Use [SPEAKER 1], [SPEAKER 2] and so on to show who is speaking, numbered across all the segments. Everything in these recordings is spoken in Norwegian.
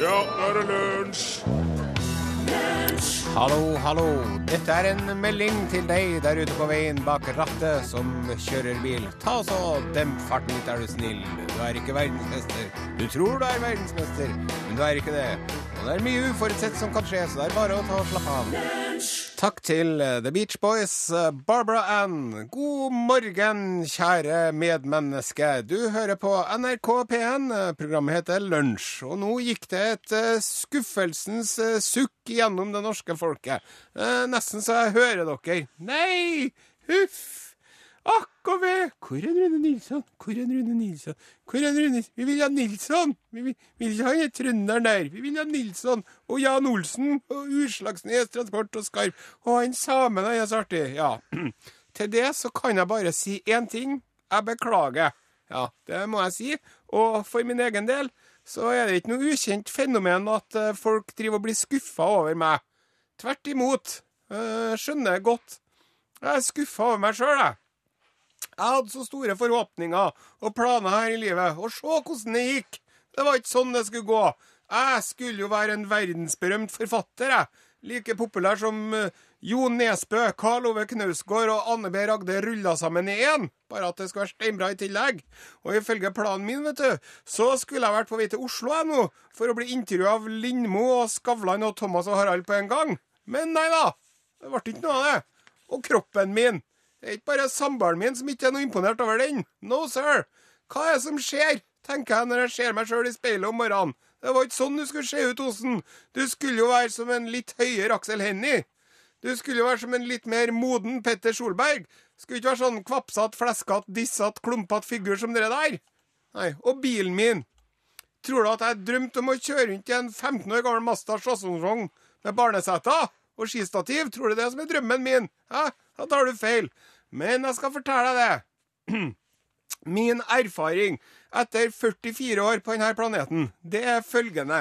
[SPEAKER 1] nå er det lunsj!
[SPEAKER 2] Hallo, hallo. Dette er en melding til deg der ute på veien bak rattet som kjører bil. Ta så demp farten litt, er du snill. Du er ikke verdensmester. Du tror du er verdensmester, men du er ikke det. Og det er mye uforutsett som kan skje, så det er bare å ta og slappe av. Takk til eh, The Beach Boys, eh, Barbara Ann. God morgen, kjære medmenneske. Du hører på NRK P1. eh, Programmet heter Lunsj. Og nå gikk det et eh, skuffelsens eh, sukk gjennom det norske folket. Eh, Nesten så jeg hører dere. Nei! Huff! Akk og ve! Hvor er Rune Nilsson? Hvor er Rune Nilsson? Hvor er Rune Vi vil ha Nilsson! Vi vil, vil ikke ha den trønderen der. Vi vil ha Nilsson og Jan Olsen og Utslagsnes Transport og Skarv. Og han samen han er så artig. Ja. Til det så kan jeg bare si én ting. Jeg beklager. Ja, det må jeg si. Og for min egen del så er det ikke noe ukjent fenomen at eh, folk driver og blir skuffa over meg. Tvert imot. Eh, skjønner godt. Jeg er skuffa over meg sjøl, jeg. Jeg hadde så store forhåpninger og planer her i livet, og se hvordan det gikk! Det var ikke sånn det skulle gå. Jeg skulle jo være en verdensberømt forfatter, jeg. Like populær som eh, Jon Nesbø, Karl Ove Knausgård og Anne B. Ragde rulla sammen i én. Bare at det skulle være steinbra i tillegg. Og ifølge planen min, vet du, så skulle jeg vært på vei til Oslo jeg nå, for å bli intervjua av Lindmo og Skavlan og Thomas og Harald på en gang. Men nei da. Det ble ikke noe av det. Og kroppen min. Det er ikke bare samboeren min som ikke er noe imponert over den. No, sir. Hva er det som skjer, tenker jeg når jeg ser meg sjøl i speilet om morgenen. Det var ikke sånn du skulle se ut, Osen. Du skulle jo være som en litt høyere Aksel Hennie. Du skulle jo være som en litt mer moden Petter Solberg. Skulle ikke være sånn kvapsete, fleskete, dissete, klumpete figur som dere der. Nei. Og bilen min. Tror du at jeg drømte om å kjøre rundt i en 15 år gammel Mazda sjassongvogn med barneseter og skistativ? Tror du det er som er drømmen min? Hæ? Da tar du feil. Men jeg skal fortelle deg det. Min erfaring etter 44 år på denne planeten, det er følgende.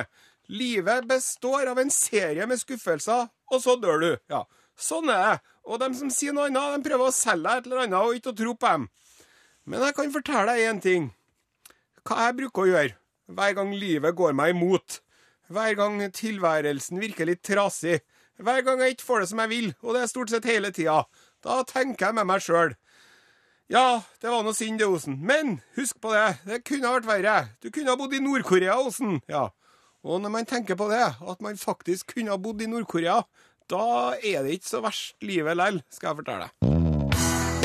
[SPEAKER 2] Livet består av en serie med skuffelser, og så dør du. Ja, sånn er det. Og de som sier noe annet, de prøver å selge deg et eller annet og ikke å tro på dem. Men jeg kan fortelle deg én ting hva jeg bruker å gjøre hver gang livet går meg imot. Hver gang tilværelsen virker litt trasig. Hver gang jeg ikke får det som jeg vil, og det er stort sett hele tida. Da tenker jeg med meg sjøl. Ja, det var nå synd, det, Osen. Men husk på det, det kunne ha vært verre. Du kunne ha bodd i Nord-Korea, Osen. Ja. Og når man tenker på det, at man faktisk kunne ha bodd i Nord-Korea, da er det ikke så verst livet lell, skal jeg fortelle deg.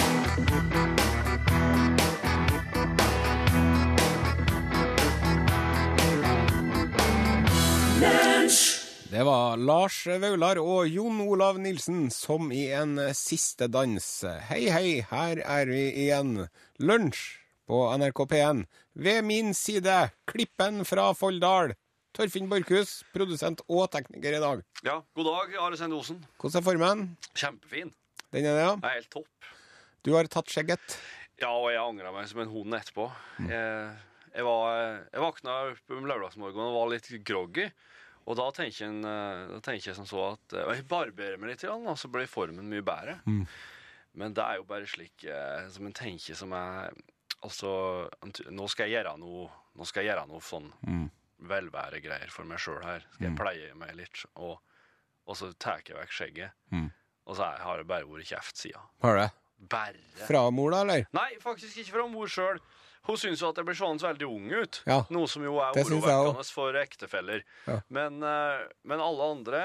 [SPEAKER 2] Det var Lars Vaular og Jon Olav Nilsen som i en siste dans. Hei, hei, her er vi igjen. Lunsj på NRK P1. Ved min side, Klippen fra Folldal. Torfinn Borchhus, produsent og tekniker i dag.
[SPEAKER 3] Ja, god dag, Are Sende Osen.
[SPEAKER 2] Hvordan er formen?
[SPEAKER 3] Kjempefin.
[SPEAKER 2] Den er det, ja.
[SPEAKER 3] Det er helt topp.
[SPEAKER 2] Du har tatt skjegget.
[SPEAKER 3] Ja, og jeg angra meg som en hund etterpå. Jeg, jeg, var, jeg våkna opp om lørdagsmorgenen og var litt groggy. Og da tenker, en, eh, da tenker jeg som så at eh, jeg barberer meg litt, grann, og så blir formen mye bedre. Men det er jo bare slik eh, som en tenker som er Altså, nå skal jeg gjøre noe, nå skal jeg gjøre noe sånn velværegreier for meg sjøl her. Skal jeg pleie meg litt, og, og så tar jeg vekk skjegget. Og så er- har det bare vært kjeft sida.
[SPEAKER 2] Har det.
[SPEAKER 3] Bare.
[SPEAKER 2] Fra mor, da, eller?
[SPEAKER 3] Nei, faktisk ikke fra mor sjøl. Hun syns jo at jeg blir seende veldig ung ut,
[SPEAKER 2] Ja.
[SPEAKER 3] noe som jo er
[SPEAKER 2] Det syns jeg
[SPEAKER 3] orovekkende for ektefeller.
[SPEAKER 2] Ja.
[SPEAKER 3] Men, eh, men alle andre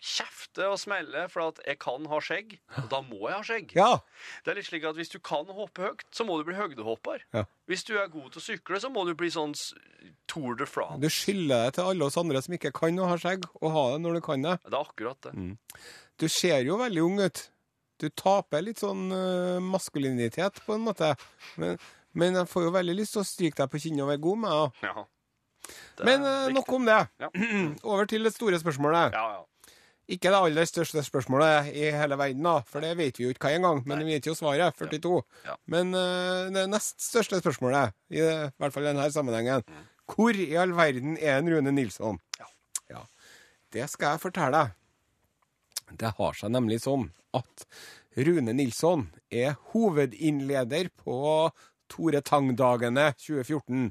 [SPEAKER 3] kjefter og smeller for at jeg kan ha skjegg, og da må jeg ha skjegg.
[SPEAKER 2] Ja.
[SPEAKER 3] Det er litt slik at Hvis du kan hoppe høyt, så må du bli høydehopper.
[SPEAKER 2] Ja.
[SPEAKER 3] Hvis du er god til å sykle, så må du bli sånn s- Tour de France.
[SPEAKER 2] Du skylder deg til alle oss andre som ikke kan å ha skjegg, og ha det når du kan det.
[SPEAKER 3] Det er akkurat
[SPEAKER 2] Mm.
[SPEAKER 3] det.
[SPEAKER 2] Du ser jo veldig ung ut. Du taper litt sånn øh, maskulinitet, på en måte. Men, men jeg får jo veldig lyst til å stryke deg på kinnet og være god med deg.
[SPEAKER 3] Ja. Det er
[SPEAKER 2] Men øh,
[SPEAKER 3] viktig.
[SPEAKER 2] nok om det.
[SPEAKER 3] Ja.
[SPEAKER 2] Over til det store spørsmålet.
[SPEAKER 3] Ja, ja.
[SPEAKER 2] Ikke det aller største spørsmålet i hele verden, da, for det vet vi jo ikke hva engang. Men vi vet jo svaret. 42.
[SPEAKER 3] Ja.
[SPEAKER 2] Men øh, det nest største spørsmålet, i det- i hvert fall i denne sammenhengen, hvor i all verden er en Rune Nilsson?
[SPEAKER 3] Ja.
[SPEAKER 2] ja. Det skal jeg fortelle deg. Det har seg nemlig sånn at Rune Nilsson er hovedinnleder på Tore Tang-dagene 2014.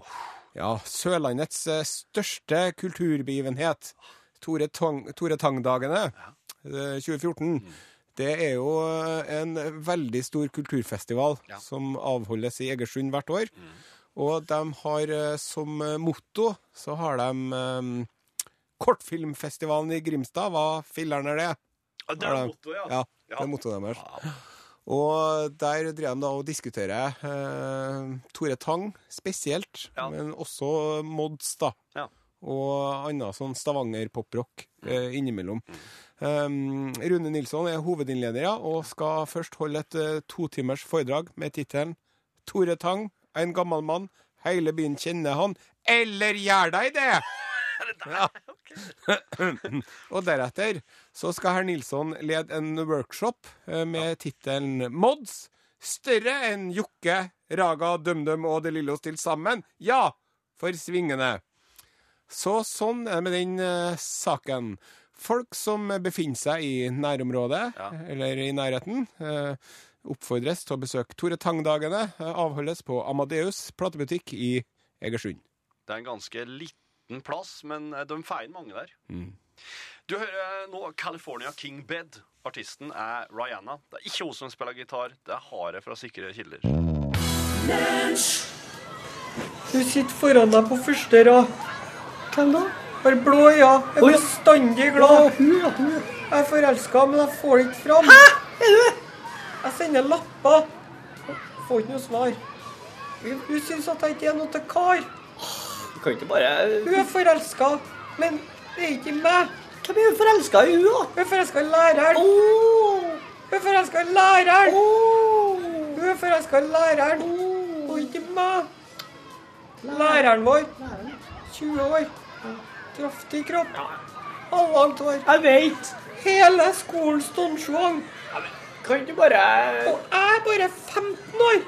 [SPEAKER 2] ja, Sørlandets eh, største kulturbegivenhet, Tore, Tang, Tore Tang-dagene eh, 2014.
[SPEAKER 3] Mm.
[SPEAKER 2] Det er jo eh, en veldig stor kulturfestival
[SPEAKER 3] Ja. Mm.
[SPEAKER 2] som avholdes i Egersund hvert år. Og de har eh, som eh, motto så har de eh, Kortfilmfestivalen i Grimstad, hva filleren er det?
[SPEAKER 3] Ja, det er mottoet, ja.
[SPEAKER 2] Ja, det er mottoet deres. Og der drev de da og diskutere eh, Tore Tang spesielt,
[SPEAKER 3] Ja.
[SPEAKER 2] men også Mods da,
[SPEAKER 3] Ja. Mm.
[SPEAKER 2] og annet sånn Stavanger-poprock eh, innimellom. Um, Rune Nilsson er hovedinnleder ja, og skal først holde et eh, totimers foredrag med tittelen Tore Tang, en gammel mann, hele byen kjenner han, eller gjør deg det! Og deretter så skal herr Nilsson lede en workshop eh, med tittelen Mods. Større enn Jokke, Raga, DumDum og Det Lille oss til sammen. Ja! For svingene. Så sånn er det med den eh, saken. Folk som befinner seg i nærområdet,
[SPEAKER 3] Ja.
[SPEAKER 2] eller i nærheten, eh, oppfordres til å besøke Tore Tang-dagene. eh, Avholdes på Amadeus platebutikk i Egersund.
[SPEAKER 3] Det er en ganske liten plass, men eh, de feier mange der.
[SPEAKER 2] Mm.
[SPEAKER 3] Du hører eh, nå California King Bed. Artisten er Rihanna. Det er ikke hun som spiller gitar, det er Hare fra sikre kilder.
[SPEAKER 4] Du sitter foran deg på første rad. Hvem da? Har blå øyne. Jeg er bestandig glad. Jeg er forelska, men jeg får det ikke fram. Hæ? Er du Jeg sender lapper. Får ikke noe svar. Hun hun syns at jeg ikke er noe til kar.
[SPEAKER 5] Du kan ikke bare
[SPEAKER 4] Hun er forelska, men det er ikke meg.
[SPEAKER 5] Hvem er forelska i hun, da?
[SPEAKER 4] Hun er forelska i læreren. Hun er forelska i læreren. Hun er forelska i læreren. Og ikke meg. Læreren vår. 20 år. Kraftig kropp. Halvlangt hår.
[SPEAKER 5] Jeg veit.
[SPEAKER 4] Hele skolen stonsjong.
[SPEAKER 5] Kan ikke bare
[SPEAKER 4] Og jeg er bare 15 år.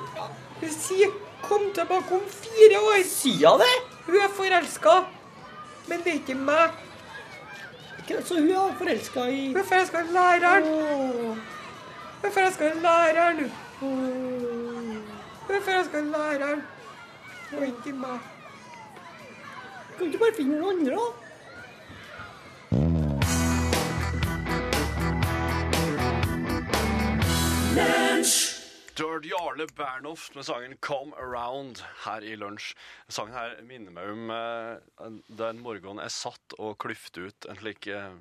[SPEAKER 4] Hun sier 'kom tilbake om fire år'.
[SPEAKER 5] Si henne det?
[SPEAKER 4] Hun er forelska. Men det er ikke meg.
[SPEAKER 5] Ikke- Så hun er forelska i
[SPEAKER 4] Hun er forelska i læreren. Hun er forelska i læreren. hun. Hun er forelska i læreren. Og ikke meg.
[SPEAKER 5] Kan ikke bare finne noen andre, da?
[SPEAKER 3] Dird Jarle Bernhoft med sangen 'Come Around' her i lunsj. Sangen her minner meg om eh, den morgenen jeg satt og klyfte ut en slik eh,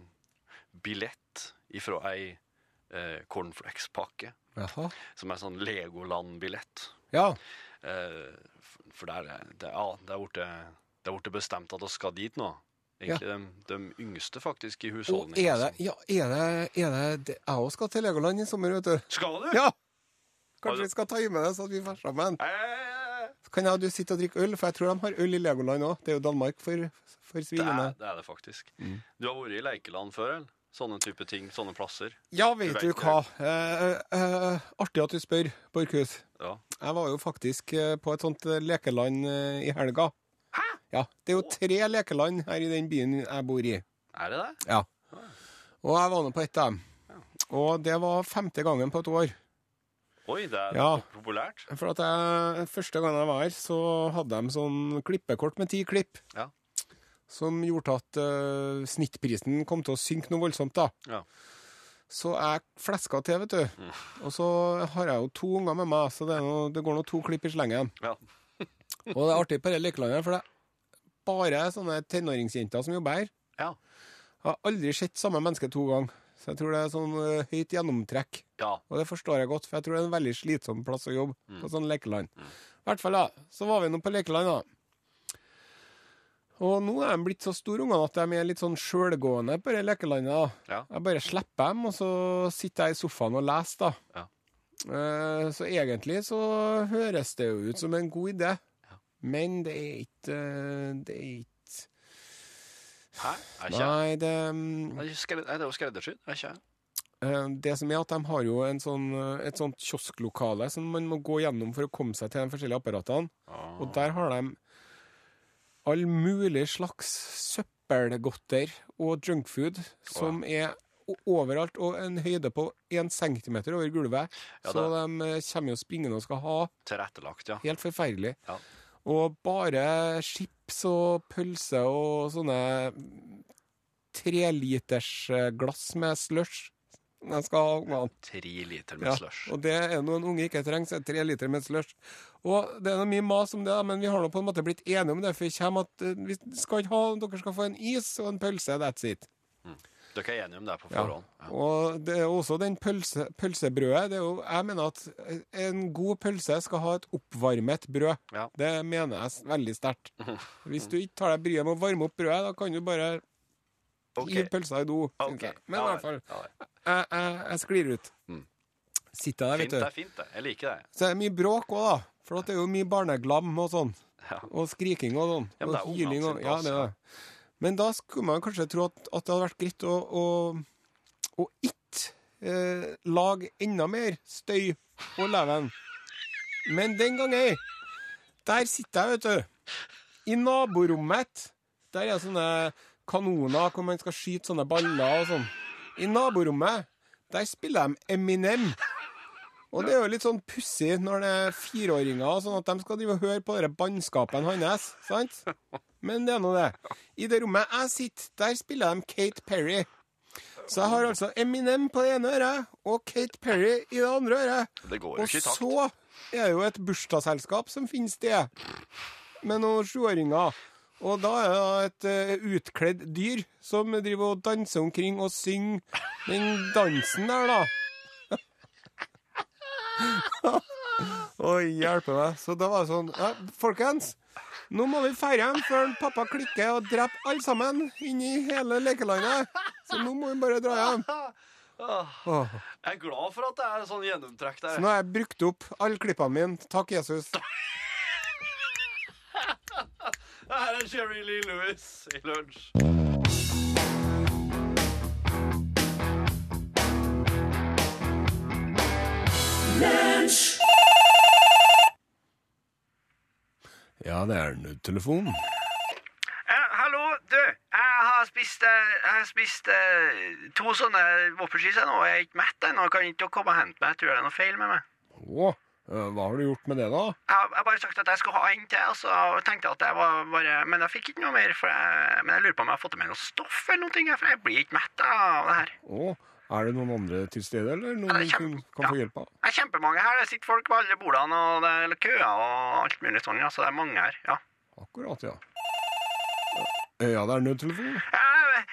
[SPEAKER 3] billett ifra ei eh, cornflakespakke,
[SPEAKER 2] Jaha.
[SPEAKER 3] som er sånn Legoland-billett.
[SPEAKER 2] Ja.
[SPEAKER 3] Eh, f- for der, er- det, ja, det er borte, det er borte bestemt at vi skal dit nå. Egentlig de, de yngste faktisk i
[SPEAKER 2] Og
[SPEAKER 3] husholdningen.
[SPEAKER 2] er det,
[SPEAKER 3] som-
[SPEAKER 2] ja, er det, er det, det Jeg òg skal til Legoland i sommer, vet du.
[SPEAKER 3] Skal du?
[SPEAKER 2] Ja!
[SPEAKER 3] Har
[SPEAKER 2] Kanskje
[SPEAKER 3] du-
[SPEAKER 2] vi skal time det, så at vi får sammen.
[SPEAKER 3] Eh,
[SPEAKER 2] Så kan jeg og du sitte og drikke øl, for jeg tror de har øl i Legoland òg. Det er jo Danmark for, for
[SPEAKER 3] det, er,
[SPEAKER 2] svingene.
[SPEAKER 3] det er det faktisk.
[SPEAKER 2] Mm.
[SPEAKER 3] Du har vært i leikeland før, eller? Sånne type ting, sånne plasser.
[SPEAKER 2] Ja, vet
[SPEAKER 3] Du
[SPEAKER 2] du
[SPEAKER 3] vet
[SPEAKER 2] hva. Eh, eh, artig at du spør, Borchhus.
[SPEAKER 3] Ja.
[SPEAKER 2] Jeg var jo faktisk eh, på et sånt eh, lekeland eh, i helga. Hæ? Ja, Det er jo tre lekeland her i den byen jeg bor i.
[SPEAKER 3] Er det det?
[SPEAKER 2] Ja. Og jeg var nå på ett av dem. Og det var femte gangen på et år.
[SPEAKER 3] Oi, det er
[SPEAKER 2] Ja.
[SPEAKER 3] populært.
[SPEAKER 2] For at jeg, første gang jeg var her, så hadde de sånn klippekort med ti klipp.
[SPEAKER 3] Ja.
[SPEAKER 2] Som gjorde at eh, snittprisen kom til å synke noe voldsomt, da.
[SPEAKER 3] Ja.
[SPEAKER 2] Så jeg fleska til, vet du.
[SPEAKER 3] Mm.
[SPEAKER 2] Og så har jeg jo to unger med meg, så det, er noe, det går nå to klipp i slengen.
[SPEAKER 3] Ja.
[SPEAKER 2] Og det er artig på det lekelandet, for det er bare sånne tenåringsjenter som jobber her.
[SPEAKER 3] Ja.
[SPEAKER 2] Jeg har aldri sett samme menneske to ganger. Så jeg tror det er sånn eh, høyt gjennomtrekk.
[SPEAKER 3] ja.
[SPEAKER 2] Og det forstår jeg godt, for jeg tror det er en veldig slitsom plass å jobbe
[SPEAKER 3] Mm.
[SPEAKER 2] på sånn lekeland. I hvert fall, da. Så var vi nå på lekeland, da. Og nå er de blitt så store ungene at de er litt sånn sjølgående på det lekelandet. da.
[SPEAKER 3] Ja.
[SPEAKER 2] Jeg bare slipper dem, og så sitter jeg i sofaen og leser, da.
[SPEAKER 3] Ja.
[SPEAKER 2] Eh, Så egentlig så høres det jo ut som en god idé, men det er ikke eh, Det er ikke
[SPEAKER 3] Hæ? Er ikke
[SPEAKER 2] Nei, det mm,
[SPEAKER 3] Er det skred- er det jo skreddersydd? Er ikke
[SPEAKER 2] Eh, Det som er at de har jo en sånn, eh, et sånt kiosklokale som man må gå gjennom for å komme seg til de forskjellige apparatene.
[SPEAKER 3] ah.
[SPEAKER 2] Og der har de all mulig slags søppelgodter og junkfood som er o- overalt og en høyde på én centimeter over gulvet.
[SPEAKER 3] Ja,
[SPEAKER 2] Så de eh, kommer jo springende og skal ha
[SPEAKER 3] Tilrettelagt, ja.
[SPEAKER 2] Helt forferdelig.
[SPEAKER 3] Ja.
[SPEAKER 2] Og bare skip chips og pølse og sånne treliters eh, glass med slush. Jeg skal ha ungene.
[SPEAKER 6] Tre liter med
[SPEAKER 2] Ja,
[SPEAKER 6] slush.
[SPEAKER 2] og det er noe en unge ikke trenger, så er det tre liter med slush. Og det er noe mye mas om det, da, men vi har nå på en måte blitt enige om det, for vi kommer at eh, vi skal ikke ha, dere skal få en is og en pølse, that's it.
[SPEAKER 6] Dere er enige om det på
[SPEAKER 2] Ja.
[SPEAKER 6] forhånd? Ja.
[SPEAKER 2] Og det er jo også den pølse, pølsebrødet. Det er jo, jeg mener at en god pølse skal ha et oppvarmet brød.
[SPEAKER 6] Ja.
[SPEAKER 2] Det mener jeg s- veldig sterkt. Hvis du ikke tar deg bryet med å varme opp brødet, da kan du bare
[SPEAKER 6] Ok.
[SPEAKER 2] hive pølsa i do. synes
[SPEAKER 6] Ok.
[SPEAKER 2] jeg. Men
[SPEAKER 6] Ja,
[SPEAKER 2] i hvert fall,
[SPEAKER 6] ja, ja.
[SPEAKER 2] jeg, jeg, jeg sklir ut. Sitter jeg der,
[SPEAKER 6] Fint, det
[SPEAKER 2] vet du.
[SPEAKER 6] er fint, det. Jeg liker det.
[SPEAKER 2] Så er det mye bråk òg, da. For at det er jo mye barneglam og sånn.
[SPEAKER 6] Ja.
[SPEAKER 2] Og skriking og sånn.
[SPEAKER 6] Ja, men det er
[SPEAKER 2] og
[SPEAKER 6] ungene
[SPEAKER 2] hyling og
[SPEAKER 6] sin
[SPEAKER 2] Ja,
[SPEAKER 6] plass,
[SPEAKER 2] det er
[SPEAKER 6] ja.
[SPEAKER 2] det. Men da skulle man kanskje tro at, at det hadde vært greit å, å, å ikke eh, lage enda mer støy og leven. Men den gangen Der sitter jeg, vet du. I naborommet. Der er sånne kanoner hvor man skal skyte sånne baller og sånn. I naborommet, der spiller de Eminem. Og det er jo litt sånn pussig når det er fireåringer, og sånn at de skal drive og høre på den bannskapen hans. sant? Men det er nå det. I det rommet jeg sitter, der spiller de Kate Perry. Så jeg har altså Eminem på det ene øret og Kate Perry i det andre øret.
[SPEAKER 6] Det går jo
[SPEAKER 2] Og
[SPEAKER 6] ikke i takt.
[SPEAKER 2] så er det jo et bursdagsselskap som finnes det, med noen sjuåringer. Og da er det da et eh, utkledd dyr som driver og danser omkring og synger den dansen der, da. Oi, hjelpe meg. Så da var det sånn ja, Folkens, nå må vi ferde hjem før en pappa klikker og dreper alle sammen inn i hele lekelandet. Så nå må vi bare dra hjem. Åh.
[SPEAKER 6] Jeg er glad for at det er sånn gjennomtrekk der.
[SPEAKER 2] Nå har jeg brukt opp alle klippene mine. Takk, Jesus.
[SPEAKER 6] Her er Sherry Lee Lewis i lunsj.
[SPEAKER 2] Ja, det er nødtelefonen.
[SPEAKER 3] hallo, du. Jeg har spist, eh, jeg har spist eh, to sånne vopperskiser nå. og Jeg er ikke mett ennå. Kan ikke dere komme og hente meg? Jeg tror det er noe feil med meg.
[SPEAKER 2] Å, eh, hva har du gjort med det, da?
[SPEAKER 3] Jeg har jeg har bare sagt at jeg skulle ha en til, altså, og tenkte at jeg var bare Men jeg fikk ikke noe mer, for jeg, men jeg lurer på om jeg har fått i meg noe stoff eller noe, jeg, for jeg blir ikke mett av det her.
[SPEAKER 2] Å, er det noen andre til stede, eller
[SPEAKER 3] Ja,
[SPEAKER 2] noen
[SPEAKER 3] det er
[SPEAKER 2] som
[SPEAKER 3] kjempe-
[SPEAKER 2] kan få
[SPEAKER 3] ja.
[SPEAKER 2] hjelp av?
[SPEAKER 3] Det er kjempemange her. Det sitter folk ved alle bordene, og det er køer og alt mulig sånn, ja, så det er mange her. ja.
[SPEAKER 2] Akkurat, ja. Eh, Ja, det er nødtelefonen.
[SPEAKER 3] Eh,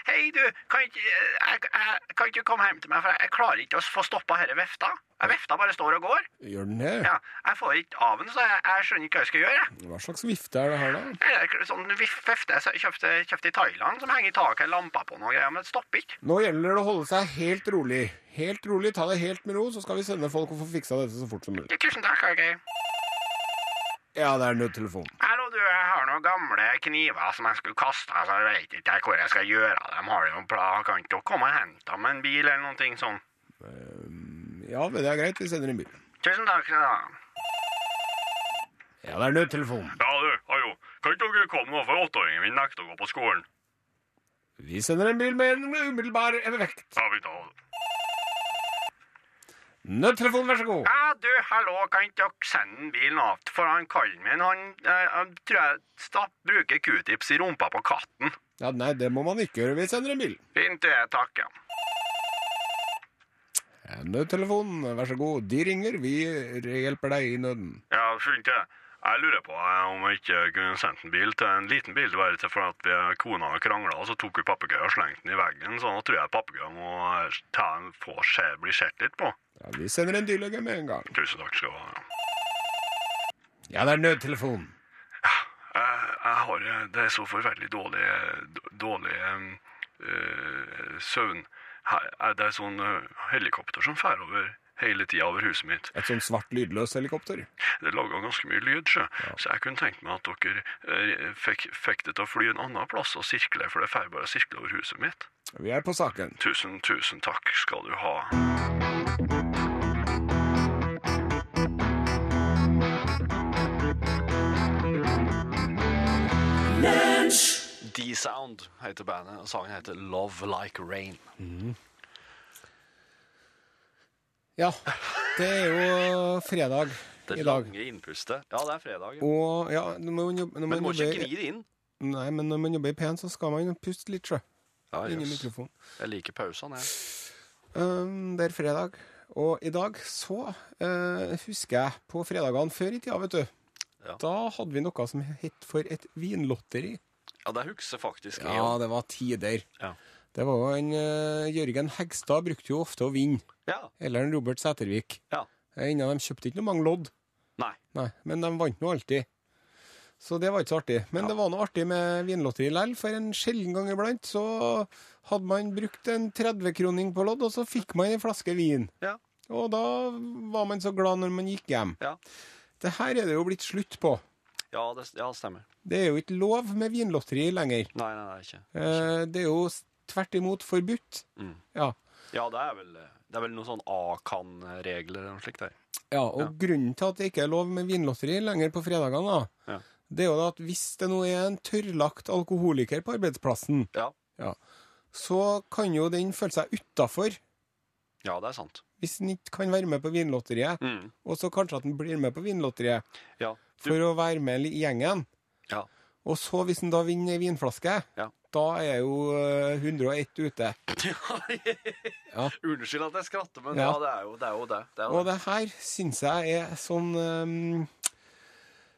[SPEAKER 3] Hei, du, kan ikke, eh, jeg, jeg, kan ikke du komme hjem til meg, for jeg, jeg klarer ikke å få stoppa denne vefta. Jeg vefta bare står og går.
[SPEAKER 2] Gjør den det?
[SPEAKER 3] Ja, jeg får ikke av den, så jeg, jeg skjønner ikke hva jeg skal gjøre. jeg.
[SPEAKER 2] Hva slags vifte er det her, da?
[SPEAKER 3] Det er sånn vif- vefte jeg så- kjøpte, kjøpte i Thailand, som henger i taket, lamper på noe greier, men det stopper ikke.
[SPEAKER 2] Nå gjelder det å holde seg helt rolig. Helt rolig, ta det helt med ro, så skal vi sende folk og få fiksa dette så fort som mulig.
[SPEAKER 3] Du, Tusen takk, OK.
[SPEAKER 2] Ja, det er nødtelefonen.
[SPEAKER 3] Hallo, du, jeg har noen gamle kniver som jeg skulle kaste, så jeg vet ikke jeg hvor jeg skal gjøre av dem. Har du noen plan? Kan ikke du komme og hente dem med en bil eller noen ting sånn?
[SPEAKER 2] Ja, men det er greit, vi sender en bil.
[SPEAKER 3] Tusen takk skal du ha.
[SPEAKER 2] Ja, det er nødtelefonen.
[SPEAKER 3] Ja, du, hallo. Kan ikke dere komme nå, for åtteåringen min nekter å gå på skolen.
[SPEAKER 2] Vi sender en bil med en umiddelbar effekt.
[SPEAKER 3] Ja, vi tar det.
[SPEAKER 2] Nødtelefonen, vær så god.
[SPEAKER 3] Ja, du, hallo, kan ikke dere sende en bil nå? For han kallen min, han, eh, han tror jeg stapp, bruker Q-tips i rumpa på katten.
[SPEAKER 2] Ja, nei, det må man ikke gjøre. Vi sender en bil.
[SPEAKER 3] Fint det, takk, ja.
[SPEAKER 2] Ja, Nødtelefonen, vær så god. De ringer, vi hjelper deg i nøden.
[SPEAKER 3] Ja, fint det. Jeg lurer på eh, om jeg ikke kunne sendt en bil til en liten bil, det var rett og slett for at vi, kona kranglet, og så tok vi pappegøyen og slengte den i veggen, så nå tror jeg pappegøyen må eh, ta en, få se, bli sett litt på.
[SPEAKER 2] Ja, vi sender en dyrlege med en gang.
[SPEAKER 3] Tusen takk skal du ha, ja.
[SPEAKER 2] Ja, det er nødtelefonen.
[SPEAKER 3] Jeg, jeg har eh, Det er så forferdelig dårlig eh, Dårlig em, eh, søvn. Her, er det er sånn eh, helikopter som fer over hele tida over huset mitt.
[SPEAKER 2] Et sånn svart lydløst helikopter.
[SPEAKER 3] Det lager ganske mye lyd, sjø. så jeg kunne tenkt meg at dere eh, fikk, fikk det til å fly en annen plass og sirkle, for det fer bare sirkle over huset mitt.
[SPEAKER 2] Vi er på saken.
[SPEAKER 3] Tusen, tusen takk skal du ha.
[SPEAKER 6] D-Sound heter bandet, og sangen heter Love Like Rain.
[SPEAKER 2] Ja, det er jo fredag
[SPEAKER 6] Det
[SPEAKER 2] i dag. Oh,
[SPEAKER 6] lange innpustet. Ja, det er fredag. ja.
[SPEAKER 2] Og ja, nå må hun jobbe nå må
[SPEAKER 6] Men
[SPEAKER 2] hun
[SPEAKER 6] må ikke
[SPEAKER 2] jobbe-
[SPEAKER 6] gni det inn.
[SPEAKER 2] Nei, men når man jobber pent, så skal man puste litt, sjø.
[SPEAKER 7] Ja,
[SPEAKER 2] Inni
[SPEAKER 7] jøss.
[SPEAKER 2] mikrofonen.
[SPEAKER 7] Jeg liker pausene, jeg.
[SPEAKER 2] Um, det er fredag. Og i dag så eh, husker jeg på fredagene før i tida, vet du.
[SPEAKER 7] Ja.
[SPEAKER 2] Da hadde vi noe som het for et vinlotteri.
[SPEAKER 7] Ja, det husker faktisk jeg.
[SPEAKER 2] Ja,
[SPEAKER 7] også.
[SPEAKER 2] det var tider.
[SPEAKER 7] Ja.
[SPEAKER 2] Det var jo en eh, Jørgen Hegstad brukte jo ofte å vinne.
[SPEAKER 7] Ja.
[SPEAKER 2] Eller en Robert Sætervik.
[SPEAKER 7] ja.
[SPEAKER 2] Eh, Ennå de kjøpte ikke noe mange lodd,
[SPEAKER 7] Nei.
[SPEAKER 2] Nei, men de vant nå alltid. Så det var ikke så artig. Men det var noe artig med vinlotteri likevel, for en sjelden gang iblant så hadde man brukt en 30-kroning på lodd, og så fikk man en flaske vin.
[SPEAKER 7] Ja.
[SPEAKER 2] Og da var man så glad når man gikk hjem.
[SPEAKER 7] Ja,
[SPEAKER 2] Det her er det jo blitt slutt på.
[SPEAKER 7] ja det ja, det stemmer.
[SPEAKER 2] Det er jo ikke lov med vinlotteri lenger.
[SPEAKER 7] Nei, nei, nei, ikke.
[SPEAKER 2] Eh, Det er jo s- tvert imot forbudt. Ja.
[SPEAKER 7] Ja, det er vel, det er vel noen sånn A-kan-regler eller noe slikt der.
[SPEAKER 2] Ja, og grunnen til at det ikke er lov med vinlotteri lenger på fredagene, da,
[SPEAKER 7] Ja.
[SPEAKER 2] det er jo da at hvis det nå er en tørrlagt alkoholiker på arbeidsplassen,
[SPEAKER 7] Ja.
[SPEAKER 2] ja, så kan jo den føle seg utafor
[SPEAKER 7] ja, det er sant.
[SPEAKER 2] hvis den ikke kan være med på vinlotteriet.
[SPEAKER 7] Mm.
[SPEAKER 2] Og så kanskje at den blir med på vinlotteriet
[SPEAKER 7] Ja. Du,
[SPEAKER 2] for å være med i gjengen.
[SPEAKER 7] ja.
[SPEAKER 2] Og så, hvis den da vinner ei vinflaske,
[SPEAKER 7] Ja.
[SPEAKER 2] da er jo eh, 101 ute.
[SPEAKER 7] Unnskyld at jeg skratter, men ja,
[SPEAKER 2] Ja.
[SPEAKER 7] det, er jo, det er jo det. det, er jo
[SPEAKER 2] Og det her syns jeg er sånn ehm,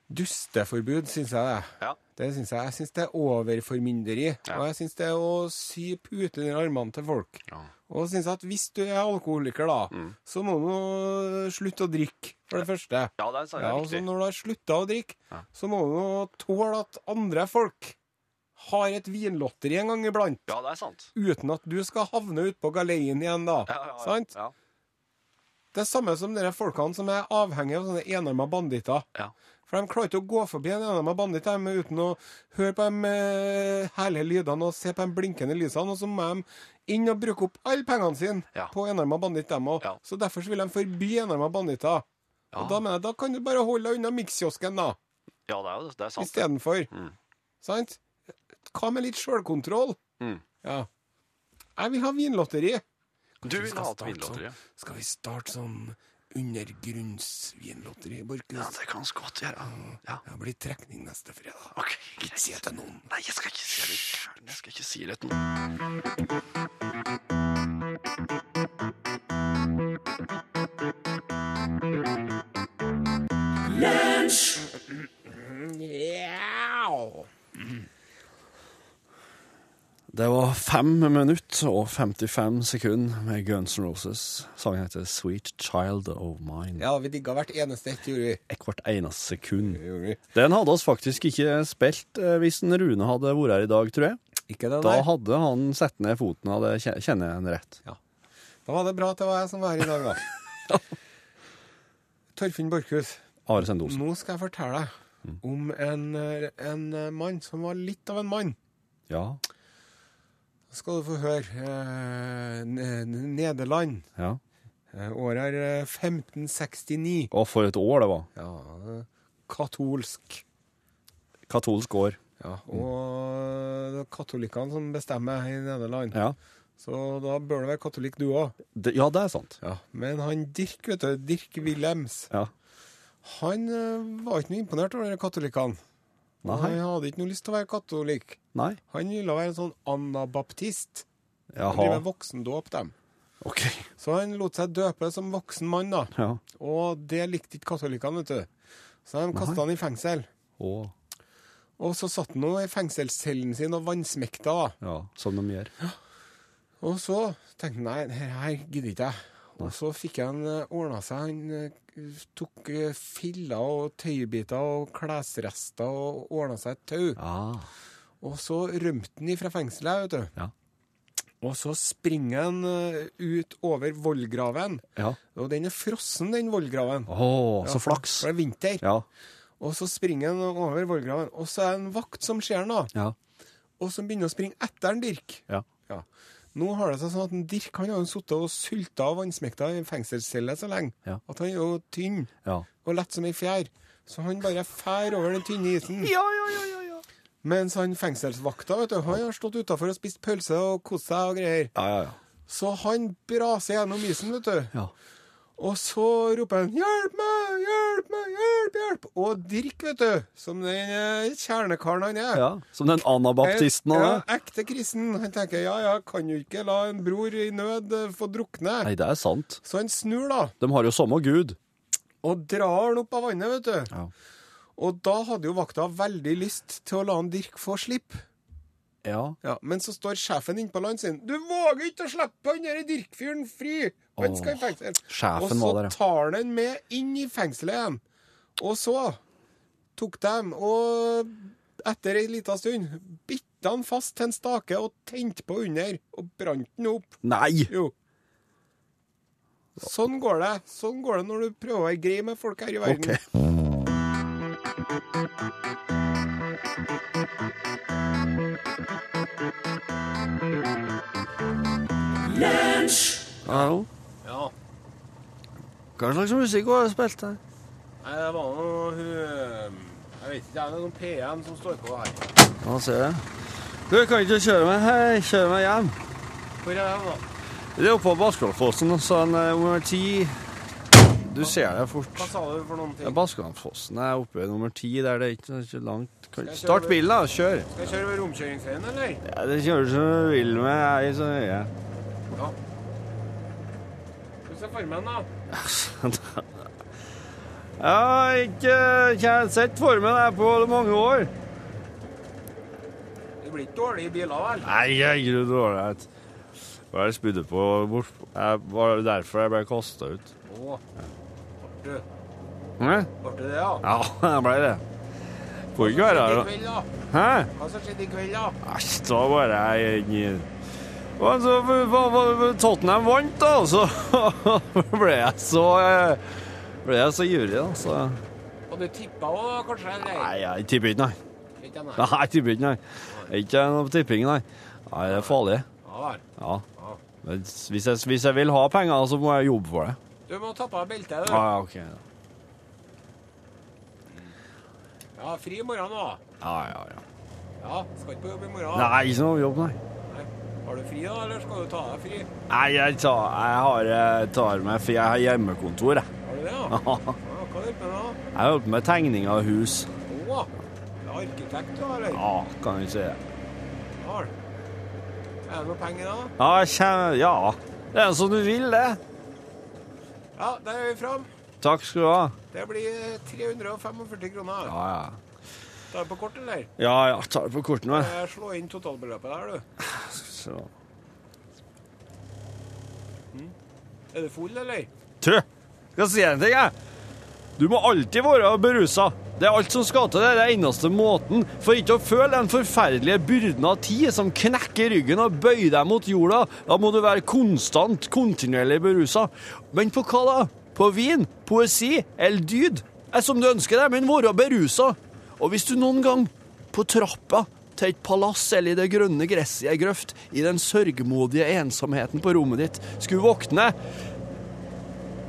[SPEAKER 2] Dusteforbud, syns jeg det er.
[SPEAKER 7] Ja.
[SPEAKER 2] Det synes jeg. Jeg syns det er overformynderi. Og jeg syns det er å sy puter under armene til folk.
[SPEAKER 7] Ja. Mm.
[SPEAKER 2] Og jeg syns at hvis du er alkoholiker, da, så må du slutte å drikke, for det første.
[SPEAKER 7] Ja, det er sant.
[SPEAKER 2] Ja, og så
[SPEAKER 7] riktig.
[SPEAKER 2] når du har slutta å drikke, så må du tåle at andre folk har et vinlotteri en gang iblant,
[SPEAKER 7] Ja, det er sant.
[SPEAKER 2] uten at du skal havne utpå galeien igjen, da.
[SPEAKER 7] Ja, ja, ja.
[SPEAKER 2] Sant?
[SPEAKER 7] Ja.
[SPEAKER 2] Det er samme som dere folkene som er avhengige av sånne enarma banditter.
[SPEAKER 7] Ja.
[SPEAKER 2] For de klarer ikke å gå forbi en enarma banditt dem uten å høre på de eh, herlige lydene og se på de blinkende lysene, og så må de inn og bruke opp alle pengene sine
[SPEAKER 7] Ja.
[SPEAKER 2] på enarma banditt, dem òg.
[SPEAKER 7] Ja.
[SPEAKER 2] Så derfor så vil de forby enarma banditter.
[SPEAKER 7] Ja.
[SPEAKER 2] Og da mener jeg, da kan du bare holde deg unna mikskiosken, da,
[SPEAKER 7] ja, det er jo det. Det er sant.
[SPEAKER 2] istedenfor. Sant? Hva med litt sjølkontroll?
[SPEAKER 7] Mm.
[SPEAKER 2] Ja. Jeg vil ha vinlotteri.
[SPEAKER 7] Du vil
[SPEAKER 2] skal
[SPEAKER 7] ha et
[SPEAKER 2] starte
[SPEAKER 7] vinlotteri?
[SPEAKER 2] sånn. Skal vi starte sånn undergrunnsvinlotteri, Borchhus?
[SPEAKER 7] Ja, det kan vi godt gjøre. Ja,
[SPEAKER 2] Det blir trekning neste fredag.
[SPEAKER 7] ok.
[SPEAKER 2] Ikke si det til noen.
[SPEAKER 7] Nei, jeg skal ikke si det. Jeg skal ikke si det til noen. Det var fem minutter og 55 sekunder med Guns N' Roses. Sangen heter Sweet Child of Mine.
[SPEAKER 2] Ja, vi digga hvert eneste ett, gjorde vi.
[SPEAKER 7] Hvert eneste sekund.
[SPEAKER 2] Det gjorde vi.
[SPEAKER 8] Den hadde oss faktisk ikke spilt eh, hvis en Rune hadde vært her i dag, tror jeg.
[SPEAKER 2] Ikke det
[SPEAKER 8] Da
[SPEAKER 2] der.
[SPEAKER 8] hadde han satt ned foten, hadde kje- kjenner jeg en rett.
[SPEAKER 2] Da var det bra at det var jeg som var her i dag, da. Torfinn Borchhus,
[SPEAKER 8] Are Sende Olsen.
[SPEAKER 2] nå skal jeg fortelle deg om en, eh, en eh, mann som var litt av en mann.
[SPEAKER 8] Ja,
[SPEAKER 2] Da skal du få høre. eh, N- N- Nederland.
[SPEAKER 8] ja.
[SPEAKER 2] Eh, Året er eh, 1569.
[SPEAKER 8] Og for et år det var.
[SPEAKER 2] Ja, eh, katolsk.
[SPEAKER 8] Katolsk år.
[SPEAKER 2] Ja, og det er katolikkene som bestemmer i Nederland.
[SPEAKER 8] Ja,
[SPEAKER 2] Så da bør du være katolikk, du òg.
[SPEAKER 8] det, ja, det er sant.
[SPEAKER 2] Men han Dirk, vet du, Dirk Wilhelms,
[SPEAKER 8] Ja.
[SPEAKER 2] han eh, var ikke noe imponert over de katolikkene. Og
[SPEAKER 8] Nei.
[SPEAKER 2] Han hadde ikke noe lyst til å være katolikk.
[SPEAKER 8] Nei.
[SPEAKER 2] Han ville være en sånn anabaptist. Han
[SPEAKER 8] Jaha.
[SPEAKER 2] driver voksendåp, dem.
[SPEAKER 8] Ok.
[SPEAKER 2] Så han lot seg døpe som voksen mann, da.
[SPEAKER 8] Ja.
[SPEAKER 2] Og det likte ikke katolikkene, vet du. Så de kasta han i fengsel.
[SPEAKER 8] Og,
[SPEAKER 2] Og så satt han nå i fengselscellen sin og vannsmekta. da.
[SPEAKER 8] ja, som de gjør.
[SPEAKER 2] Og så tenkte jeg nei, det her gidder ikke jeg. Og så fikk han ordna seg. Han eh, tok eh, filler og tøybiter og klesrester og ordna seg et tau.
[SPEAKER 8] Ah.
[SPEAKER 2] Og så rømte han ifra fengselet, vet du.
[SPEAKER 8] Ja.
[SPEAKER 2] Og så springer han eh, ut over vollgraven.
[SPEAKER 8] Ja.
[SPEAKER 2] Og den er frossen, den vollgraven.
[SPEAKER 8] Åh, så flaks.
[SPEAKER 2] For det er vinter.
[SPEAKER 8] Ja,
[SPEAKER 2] Og så springer han over vollgraven. Og så er det en vakt som ser han, da.
[SPEAKER 8] ja,
[SPEAKER 2] og som begynner å springe etter en Dirk.
[SPEAKER 8] ja.
[SPEAKER 2] Ja. Nå har det seg sånn at en Dirk han har jo sittet og sulta og vannsmekta i en fengselscelle så lenge
[SPEAKER 8] Ja.
[SPEAKER 2] at han er jo tynn
[SPEAKER 8] Ja.
[SPEAKER 2] og lett som ei fjær. Så han bare fær over den tynne isen. Mens han fengselsvakta vet du, han har stått utafor og spist pølse og kost seg og greier.
[SPEAKER 8] Ja, ja, ja.
[SPEAKER 2] Så han braser gjennom isen, vet du.
[SPEAKER 8] Ja.
[SPEAKER 2] Og så roper han 'hjelp meg, hjelp meg, hjelp, hjelp', og drikk, vet du, som den eh, kjernekaren han er.
[SPEAKER 3] Ja, Som den anabaptisten han
[SPEAKER 2] ja,
[SPEAKER 3] er.
[SPEAKER 2] ekte kristen. Han tenker 'ja, ja, kan jo ikke la en bror i nød eh, få drukne'.
[SPEAKER 3] Nei, det er sant.
[SPEAKER 2] Så han snur, da,
[SPEAKER 3] De har jo samme gud.
[SPEAKER 2] og drar han opp av vannet, vet du.
[SPEAKER 3] Ja.
[SPEAKER 2] Og da hadde jo vakta veldig lyst til å la han Dirk få slippe.
[SPEAKER 3] Ja.
[SPEAKER 2] Ja, men så står sjefen innpå land sin. Du våger ikke å slippe han derre Dirk-fyren fri! Han skal i fengsel.
[SPEAKER 3] sjefen
[SPEAKER 2] og så
[SPEAKER 3] var der, ja.
[SPEAKER 2] tar han den med inn i fengselet igjen. Og så tok de, og etter ei lita stund bitt han fast til en stake og tente på under, og brant den opp.
[SPEAKER 3] Nei!
[SPEAKER 2] Jo. Sånn går det. Sånn går det når du prøver å være grei med folk her i verden.
[SPEAKER 3] Ok. Hallo?
[SPEAKER 2] Ja.
[SPEAKER 3] Hva slags musikk har du spilt her?
[SPEAKER 2] Nei, det var noe hun Jeg vet ikke, det er noen PM som står på her.
[SPEAKER 3] Ja, ser jeg. Du kan ikke kjøre meg, hei, kjøre meg hjem.
[SPEAKER 2] Hvor er den, da?
[SPEAKER 3] Det er oppe på Baskelandfossen, sånn eh, nummer ti. Du ser det fort.
[SPEAKER 2] Hva sa du for noen
[SPEAKER 3] Ja,
[SPEAKER 2] ting?
[SPEAKER 3] Baskelandfossen er oppe ved nummer ti, der det er ikke, ikke langt. Kan...
[SPEAKER 2] jeg kjøre
[SPEAKER 3] Start
[SPEAKER 2] over-
[SPEAKER 3] bilen da, kjør.
[SPEAKER 2] Skal jeg kjøre ved romkjøringsveien, eller?
[SPEAKER 3] Ja, det kjører du som du vil med, jeg er så nøye.
[SPEAKER 2] Hvordan ser for meg den, da?
[SPEAKER 3] Jeg har ikke kjent- sett formen her på mange år.
[SPEAKER 2] Det blir ikke dårlige biler, vel?
[SPEAKER 3] Nei, jeg er dårlig. Hva er det spydde på bort? Jeg var derfor jeg ble kasta ut.
[SPEAKER 2] Å, artig.
[SPEAKER 3] Hæ?
[SPEAKER 2] Artig det, ja.
[SPEAKER 3] Ja, jeg ble det. Får ikke være
[SPEAKER 2] I
[SPEAKER 3] her.
[SPEAKER 2] kveld, da?
[SPEAKER 3] Hæ?
[SPEAKER 2] Hva som skjedde i kveld, da?
[SPEAKER 3] Æsj, da var jeg inn i- Og så hva- hva- Tottenham vant, da, så ble jeg så eh, Ble jeg så ivrig, da. Så
[SPEAKER 2] Og du tippa òg, kanskje? Eller?
[SPEAKER 3] Nei, jeg tipper ikke, nei.
[SPEAKER 2] Vet jeg, nei.
[SPEAKER 3] Nei, jeg tipper ikke, nei. Ikke noe tipping, nei. Nei, det er farlig.
[SPEAKER 2] Ja vel.
[SPEAKER 3] Ja. Men Hvis jeg, hvis jeg vil ha penger, så må jeg jobbe for det.
[SPEAKER 2] Du må ta på deg beltet,
[SPEAKER 3] Ja,
[SPEAKER 2] du.
[SPEAKER 3] ja, ok.
[SPEAKER 2] Ja, fri i morgen nå.
[SPEAKER 3] Ja, ja, ja.
[SPEAKER 2] Ja, skal ikke på jobb i morgen.
[SPEAKER 3] Nei, ikke noe jobb, nei.
[SPEAKER 2] Nei. Har du fri, da, eller skal du ta deg fri?
[SPEAKER 3] Nei, jeg tar, jeg har, jeg tar meg fri. Jeg har hjemmekontor, jeg.
[SPEAKER 2] Har du det, ja? ja
[SPEAKER 3] Ja.
[SPEAKER 2] hva holder du på med
[SPEAKER 3] Jeg holder på med tegning av hus.
[SPEAKER 2] da? Å, du er arkitekt, da, eller?
[SPEAKER 3] Ja, kan du si det.
[SPEAKER 2] Ja. vel. Er det noe penger, da?
[SPEAKER 3] Ja, kjem, ja. Det er som du vil, det.
[SPEAKER 2] Ja, der er vi fram.
[SPEAKER 3] Takk skal du ha.
[SPEAKER 2] Det blir 345 kroner.
[SPEAKER 3] Ja, ja.
[SPEAKER 2] Tar du på kort, eller?
[SPEAKER 3] Ja, ja, tar det på kortene. vel.
[SPEAKER 2] Eh, Slå inn totalbeløpet der, du.
[SPEAKER 3] Så.
[SPEAKER 2] Er du full, eller?
[SPEAKER 3] Du, skal jeg si en ting, jeg. Du må alltid være berusa. Det er alt som skal til. Det er den eneste måten for ikke å føle den forferdelige byrden av tid som knekker ryggen og bøyer deg mot jorda. Da må du være konstant, kontinuerlig berusa. Men på hva da? På vin, poesi eller dyd? Er som du ønsker deg, men være berusa. Og hvis du noen gang, på trappa til et palass eller i det grønne gresset i ei grøft, i den sørgmodige ensomheten på rommet ditt, skulle våkne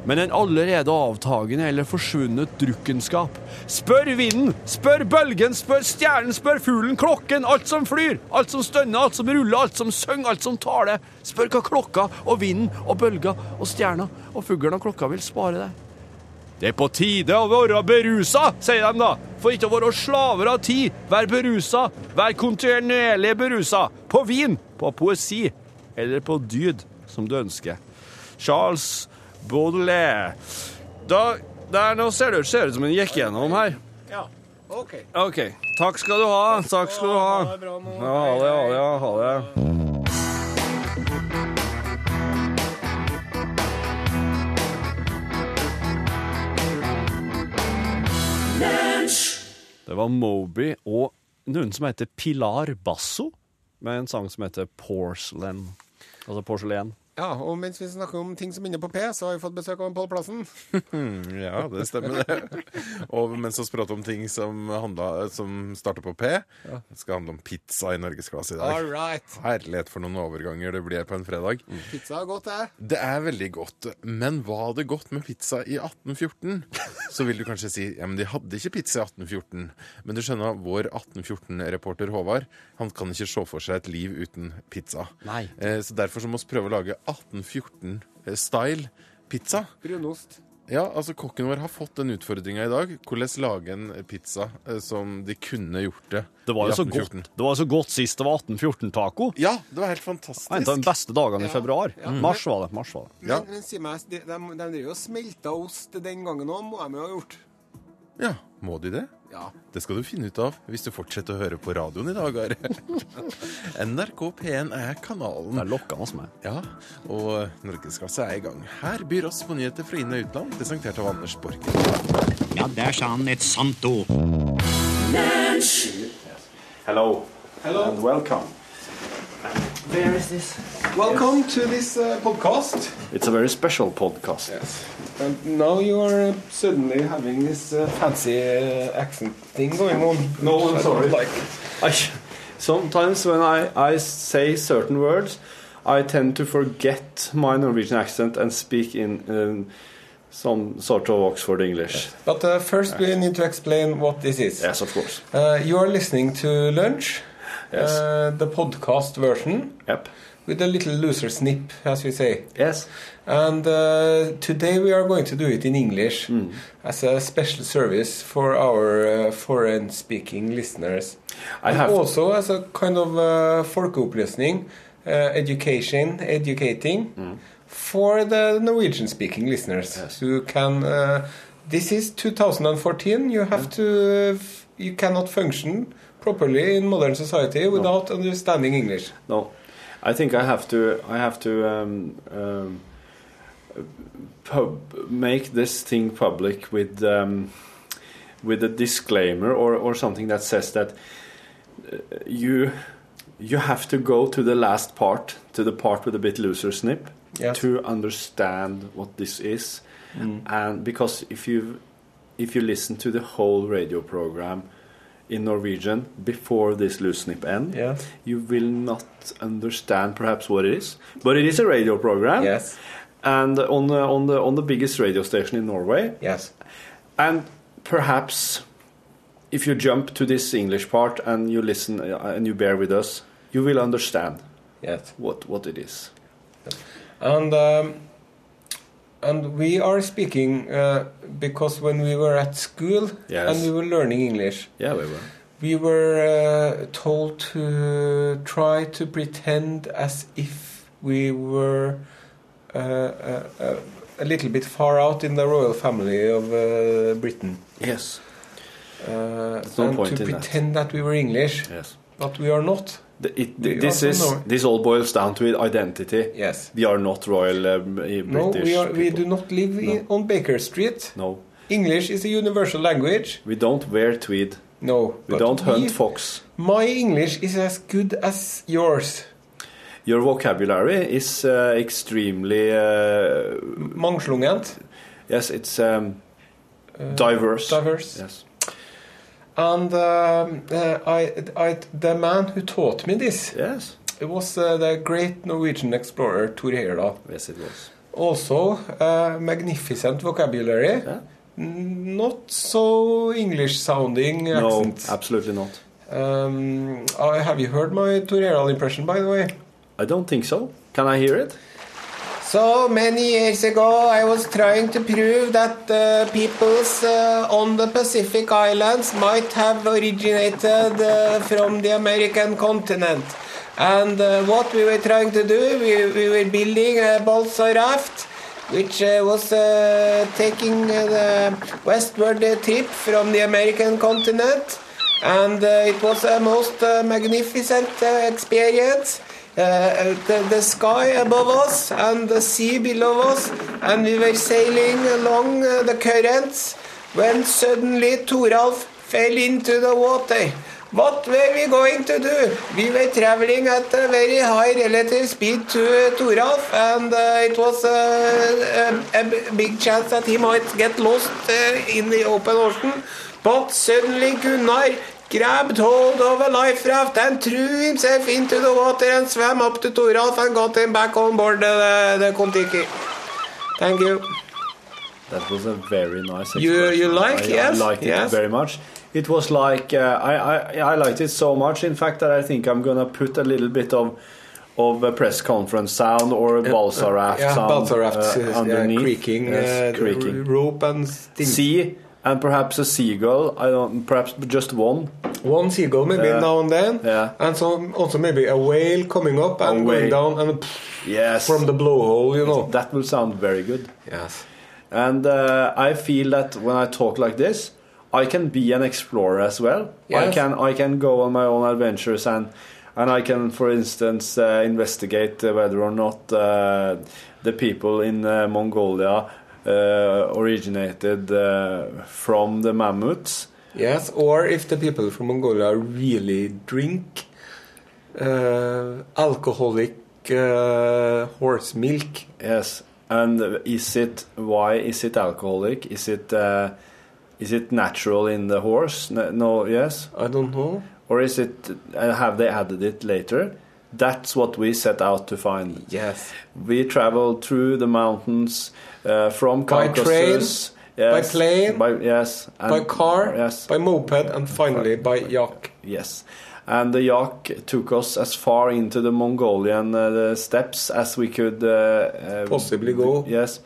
[SPEAKER 3] men en allerede avtagende eller forsvunnet drukkenskap. Spør vinden, spør bølgen, spør stjernen, spør fuglen, klokken, alt som flyr, alt som stønner, alt som ruller, alt som synger, alt som taler. Spør hva klokka og vinden og bølga og stjerna og fuglen og klokka vil spare deg. Det er på tide å være berusa, sier de da. For ikke å være slaver av tid. Vær berusa. Vær kontinuerlig berusa. På vin, på poesi eller på dyd, som du ønsker. Charles Baudelaire. Da, der nå ser du ser ut som en gikk gjennom her.
[SPEAKER 2] Ja. OK.
[SPEAKER 3] OK. Takk skal du ha. Takk skal du
[SPEAKER 2] Ha
[SPEAKER 3] ha.
[SPEAKER 2] det bra nå.
[SPEAKER 3] Ja, ha det, ha det, ja, ha det. Det var Moby og noen som heter Pilar Basso, med en sang som heter Porcelain. Altså porselen.
[SPEAKER 2] Ja, og mens vi snakker om ting som begynner på P, så har vi fått besøk av en Pål Plassen.
[SPEAKER 9] Ja, det stemmer det. Og mens vi prater om ting som, handla, som starter på P, det skal handle om pizza i norgesklasse i
[SPEAKER 2] All
[SPEAKER 9] dag.
[SPEAKER 2] right.
[SPEAKER 9] Herlighet for noen overganger det blir på en fredag.
[SPEAKER 2] Pizza er godt, det.
[SPEAKER 9] Det er veldig godt, men var det godt med pizza i 1814? Så vil du kanskje si ja, men de hadde ikke pizza i 1814. Men du skjønner, vår 1814-reporter Håvard han kan ikke se for seg et liv uten pizza.
[SPEAKER 3] Nei.
[SPEAKER 9] Eh, Så derfor så må vi prøve å lage 1814-style Pizza.
[SPEAKER 2] Brunost.
[SPEAKER 9] Ja, altså Kokken vår har fått den utfordringa i dag. Hvordan lage en pizza eh, som de kunne gjort det
[SPEAKER 8] Det var
[SPEAKER 9] i
[SPEAKER 8] jo så
[SPEAKER 9] 1814.
[SPEAKER 8] godt, det var jo så godt sist det var 1814-taco.
[SPEAKER 9] Ja, det var helt
[SPEAKER 8] En av de
[SPEAKER 9] fantastisk.
[SPEAKER 8] beste dagene i
[SPEAKER 2] Ja,
[SPEAKER 8] februar.
[SPEAKER 2] ja.
[SPEAKER 8] Mars var det. mars var det.
[SPEAKER 9] Ja.
[SPEAKER 2] Men, men si meg, de, de, de driver jo og smelter ost den gangen òg, må de jo ha gjort.
[SPEAKER 9] Ja, Må de det?
[SPEAKER 2] Ja.
[SPEAKER 9] Det skal du finne ut av hvis du fortsetter å høre på radioen i dag, Are. NRK P1 er
[SPEAKER 8] Det
[SPEAKER 9] kanalen.
[SPEAKER 8] er lokkende med.
[SPEAKER 9] Ja, og Norgesklasse er i gang. Her byr oss på nyheter fra inn- og utland, presentert av Anders Borgen.
[SPEAKER 10] Ja, der sa han et sant ord.
[SPEAKER 3] Hello. Hello. And welcome.
[SPEAKER 2] Welcome to this uh, podcast.
[SPEAKER 3] It's a very special podcast.
[SPEAKER 2] And now you are uh, suddenly having this uh, fancy uh, accent thing going on. No, I'm sorry.
[SPEAKER 3] I, sometimes when I, I say certain words, I tend to forget my Norwegian accent and speak in um, some sort of Oxford English.
[SPEAKER 2] But uh, first we need to explain what this is.
[SPEAKER 3] Yes, of course.
[SPEAKER 2] Uh, you are listening to Lunch,
[SPEAKER 3] Yes.
[SPEAKER 2] uh, the podcast version,
[SPEAKER 3] Yep.
[SPEAKER 2] with a little looser snip, as we say.
[SPEAKER 3] Yes.
[SPEAKER 2] And uh, today we are going to do it in English
[SPEAKER 3] Mm.
[SPEAKER 2] as a special service for our uh, foreign speaking listeners.
[SPEAKER 3] I
[SPEAKER 2] And
[SPEAKER 3] have-
[SPEAKER 2] also as a kind of uh, folkeopplysning, uh, education, educating
[SPEAKER 3] Mm.
[SPEAKER 2] for the Norwegian speaking listeners who can. Uh, this is 2014. You
[SPEAKER 3] Mm.
[SPEAKER 2] have to. You cannot function properly in modern society without understanding English.
[SPEAKER 3] No, I think I have to. I have to um, um, pub, make this thing public with um, with a disclaimer or, or something that says that uh, you you have to go to the last part, to the part with a bit looser snip,
[SPEAKER 2] Yes.
[SPEAKER 3] to understand what this is, and because if you if you listen to the whole radio program in Norwegian before this loose snip end,
[SPEAKER 2] Yeah.
[SPEAKER 3] you will not understand perhaps what it is, but it is a radio program.
[SPEAKER 2] Yes.
[SPEAKER 3] And on the, on the on the biggest radio station in Norway,
[SPEAKER 2] Yes.
[SPEAKER 3] and perhaps if you jump to this English part and you listen uh, and you bear with us, you will understand
[SPEAKER 2] Yes.
[SPEAKER 3] what what it is.
[SPEAKER 2] And um, and we are speaking uh, because when we were at school
[SPEAKER 3] Yes.
[SPEAKER 2] and we were learning English,
[SPEAKER 3] Yeah, we will.
[SPEAKER 2] we were uh, told to try to pretend as if we were uh, uh, uh, a little bit far out in the royal family of uh, Britain.
[SPEAKER 3] Yes.
[SPEAKER 2] Uh,
[SPEAKER 3] no
[SPEAKER 2] and
[SPEAKER 3] point
[SPEAKER 2] to
[SPEAKER 3] in that.
[SPEAKER 2] pretend that. we were English,
[SPEAKER 3] Yes.
[SPEAKER 2] but we are not.
[SPEAKER 3] The, it,
[SPEAKER 2] We
[SPEAKER 3] this
[SPEAKER 2] also
[SPEAKER 3] is
[SPEAKER 2] know-
[SPEAKER 3] this all boils down to identity.
[SPEAKER 2] Yes.
[SPEAKER 3] We are not royal um, British.
[SPEAKER 2] No, we are. We
[SPEAKER 3] people.
[SPEAKER 2] do not live in, on Baker Street.
[SPEAKER 3] No,
[SPEAKER 2] English is a universal language.
[SPEAKER 3] we don't wear tweed.
[SPEAKER 2] No.
[SPEAKER 3] We
[SPEAKER 2] but
[SPEAKER 3] don't hunt
[SPEAKER 2] we-
[SPEAKER 3] fox.
[SPEAKER 2] My English is as good as yours.
[SPEAKER 3] Your vocabulary is uh, extremely uh,
[SPEAKER 2] Mangslungent.
[SPEAKER 3] yes, it's um, diverse.
[SPEAKER 2] Uh, Diverse.
[SPEAKER 3] Yes,
[SPEAKER 2] And um, uh, I, I, the man who taught me this
[SPEAKER 3] yes,
[SPEAKER 2] it was uh, the great Norwegian explorer Tor Heyerdahl.
[SPEAKER 3] yes, it was.
[SPEAKER 2] Also, uh, magnificent vocabulary.
[SPEAKER 3] Yeah.
[SPEAKER 2] N- Not so English sounding
[SPEAKER 3] No,
[SPEAKER 2] accent.
[SPEAKER 3] absolutely not.
[SPEAKER 2] um, I, have you heard my Tor Heyerdahl impression, by the way?
[SPEAKER 3] I don't think so. Can I hear it?
[SPEAKER 2] So many years ago, I was trying to prove that uh, peoples uh, on the Pacific Islands might have originated uh, from the American continent. And uh, what we were trying to do, we, we were building a balsa raft which uh, was uh, taking uh, the westward trip from the American continent. And uh, it was a most uh, magnificent uh, experience. Uh, the, the sky above us and the sea below us, and we were sailing along uh, the currents when suddenly Toralf fell into the water. What were we going to do? We were traveling at a very high relative speed to uh, Toralf, and uh, it was uh, a, a b- big chance that he might get lost uh, in the open ocean. But suddenly Gunnar grabbed hold of a life raft and threw himself into the water and swam up to Toralf and got him back on board the, the Kon-Tiki. Thank you.
[SPEAKER 3] That was a very nice.
[SPEAKER 2] You-
[SPEAKER 3] expression.
[SPEAKER 2] you like,
[SPEAKER 3] I,
[SPEAKER 2] yes,
[SPEAKER 3] I liked
[SPEAKER 2] yes.
[SPEAKER 3] it very much. It was like uh, I, I I liked it so much. In fact, that I think I'm gonna put a little bit of of a press conference sound or a balsa raft
[SPEAKER 2] yeah,
[SPEAKER 3] sound
[SPEAKER 2] balsa raft,
[SPEAKER 3] uh,
[SPEAKER 2] yes, yeah,
[SPEAKER 3] underneath.
[SPEAKER 2] creaking,
[SPEAKER 3] Yes,
[SPEAKER 2] uh,
[SPEAKER 3] creaking.
[SPEAKER 2] rope and things.
[SPEAKER 3] Sea and perhaps a seagull. I don't. Perhaps just one.
[SPEAKER 2] One seagull maybe
[SPEAKER 3] Yeah.
[SPEAKER 2] now and then,
[SPEAKER 3] Yeah.
[SPEAKER 2] and so also maybe a whale coming up and going
[SPEAKER 3] whale.
[SPEAKER 2] down and
[SPEAKER 3] Yes.
[SPEAKER 2] from the blowhole, you know.
[SPEAKER 3] That will sound very good.
[SPEAKER 2] Yes.
[SPEAKER 3] And uh, I feel that when I talk like this, I can be an explorer as well. I
[SPEAKER 2] Yes.
[SPEAKER 3] can I can go on my own adventures and and I can, for instance, uh, investigate uh, whether or not uh, the people in uh, Mongolia uh, originated uh, from the mammoths.
[SPEAKER 2] Yes, or if the people from Mongolia really drink uh, alcoholic uh, horse milk.
[SPEAKER 3] Yes. And is it why is it alcoholic? Is it uh, is it natural in the horse? No. no yes.
[SPEAKER 2] I don't know.
[SPEAKER 3] or is it uh, have they added it later that's what we set out to find
[SPEAKER 2] Yes.
[SPEAKER 3] we traveled through the mountains uh, from
[SPEAKER 2] By
[SPEAKER 3] Caucasus
[SPEAKER 2] train, by plane,
[SPEAKER 3] by yes and-
[SPEAKER 2] by car,
[SPEAKER 3] yes
[SPEAKER 2] by moped, and finally by yak.
[SPEAKER 3] yes and the yak took us as far into the Mongolian uh, the steppes as we could uh, uh,
[SPEAKER 2] Possibly go.
[SPEAKER 3] Yes,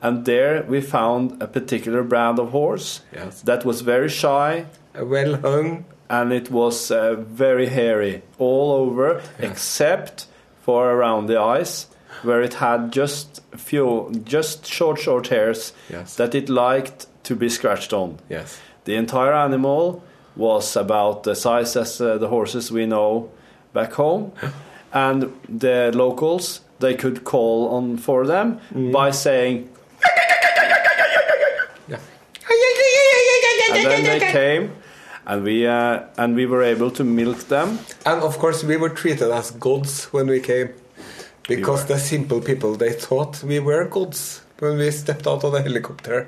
[SPEAKER 3] and there we found a particular brand of horse
[SPEAKER 2] Yes.
[SPEAKER 3] that was very shy,
[SPEAKER 2] A well hung.
[SPEAKER 3] and it was uh, very hairy all over except for around the eyes where it had just few just short short hairs
[SPEAKER 2] Yes.
[SPEAKER 3] that it liked to be scratched on
[SPEAKER 2] Yes.
[SPEAKER 3] the entire animal was about the size as uh, the horses we know back home and the locals they could call on for them
[SPEAKER 2] Mm.
[SPEAKER 3] by saying and then they came and we uh, and we were able to milk them
[SPEAKER 2] And of course, we were treated as gods when we came. Because the simple people, they thought we were gods when we stepped out of the helicopter.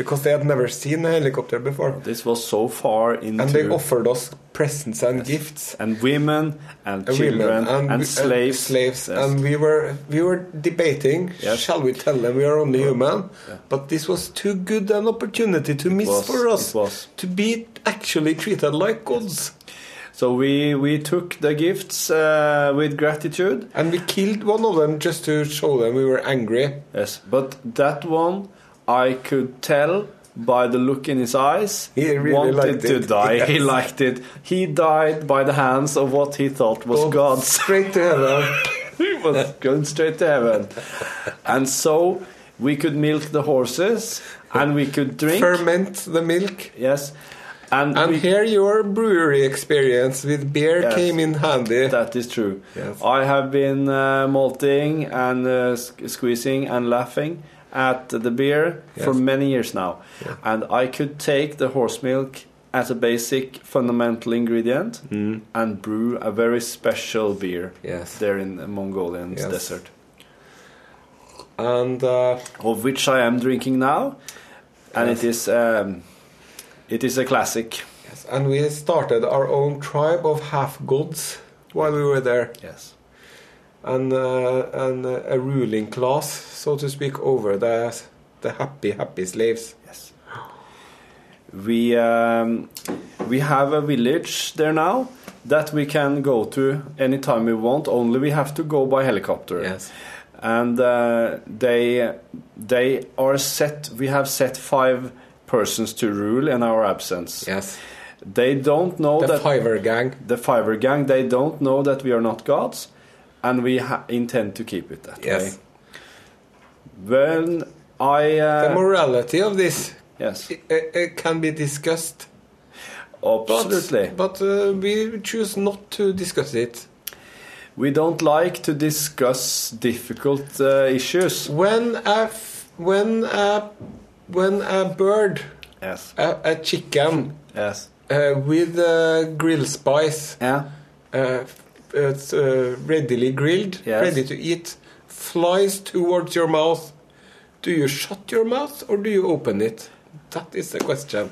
[SPEAKER 2] Because they had never seen a helicopter before.
[SPEAKER 3] This was so far into
[SPEAKER 2] And they offered us presents and gifts.
[SPEAKER 3] and women and
[SPEAKER 2] And
[SPEAKER 3] children
[SPEAKER 2] women
[SPEAKER 3] and,
[SPEAKER 2] we- uh,
[SPEAKER 3] slaves.
[SPEAKER 2] slaves.
[SPEAKER 3] Yes.
[SPEAKER 2] And we were we were debating.
[SPEAKER 3] Yes.
[SPEAKER 2] Shall we tell them we are only human? But this was too good an opportunity to miss
[SPEAKER 3] was,
[SPEAKER 2] for us
[SPEAKER 3] it was.
[SPEAKER 2] to be actually treated like gods.
[SPEAKER 3] so we we took the gifts uh, with gratitude.
[SPEAKER 2] And we killed one of them just to show them we were angry.
[SPEAKER 3] Yes, but that one I could tell by the look in his eyes.
[SPEAKER 2] He really
[SPEAKER 3] wanted
[SPEAKER 2] liked
[SPEAKER 3] to
[SPEAKER 2] it.
[SPEAKER 3] die. He
[SPEAKER 2] Yes.
[SPEAKER 3] liked it. He died by the hands of what he thought was
[SPEAKER 2] Go
[SPEAKER 3] God's.
[SPEAKER 2] Straight to heaven.
[SPEAKER 3] he was going straight to heaven, and so we could milk the horses and we could drink.
[SPEAKER 2] Ferment the milk.
[SPEAKER 3] Yes. And,
[SPEAKER 2] And
[SPEAKER 3] we,
[SPEAKER 2] here your brewery experience with beer
[SPEAKER 3] Yes.
[SPEAKER 2] came in handy.
[SPEAKER 3] that is true.
[SPEAKER 2] Yes.
[SPEAKER 3] I have been uh, malting and uh, sq- squeezing and laughing at the beer for many years now. And I could take the horse milk as a basic fundamental ingredient and brew a very special beer
[SPEAKER 2] Mm. Yes.
[SPEAKER 3] there in the Mongolian
[SPEAKER 2] Yes.
[SPEAKER 3] desert,
[SPEAKER 2] And uh,
[SPEAKER 3] of which I am drinking now. And it is um, it is a classic.
[SPEAKER 2] yes, and we started our own tribe of half gods while we were there,
[SPEAKER 3] Yes.
[SPEAKER 2] and uh, and uh, a ruling class, so to speak, over the the happy happy slaves.
[SPEAKER 3] Yes. We um, we have a village there now that we can go to anytime we want. Only we have to go by helicopter. And uh, they they are set. We have set five persons to rule in our absence.
[SPEAKER 2] yes.
[SPEAKER 3] They don't know
[SPEAKER 2] The
[SPEAKER 3] that
[SPEAKER 2] Fiver gang.
[SPEAKER 3] the fiver gang. They don't know that we are not gods, and we ha- intend to keep it that
[SPEAKER 2] Yes.
[SPEAKER 3] way. When I uh,
[SPEAKER 2] The morality of this
[SPEAKER 3] yes,
[SPEAKER 2] i- i- i- can be discussed.
[SPEAKER 3] absolutely.
[SPEAKER 2] But, but uh, we choose not to discuss it.
[SPEAKER 3] We don't like to discuss difficult uh, issues.
[SPEAKER 2] When a f- when a when a bird,
[SPEAKER 3] Yes.
[SPEAKER 2] a, a chicken
[SPEAKER 3] Yes.
[SPEAKER 2] uh, with uh, grill spice,
[SPEAKER 3] Yeah.
[SPEAKER 2] uh, f- it's, uh, readily grilled,
[SPEAKER 3] Yes.
[SPEAKER 2] ready to eat, flies towards your mouth. Do you shut your mouth or do you open it? That is the question.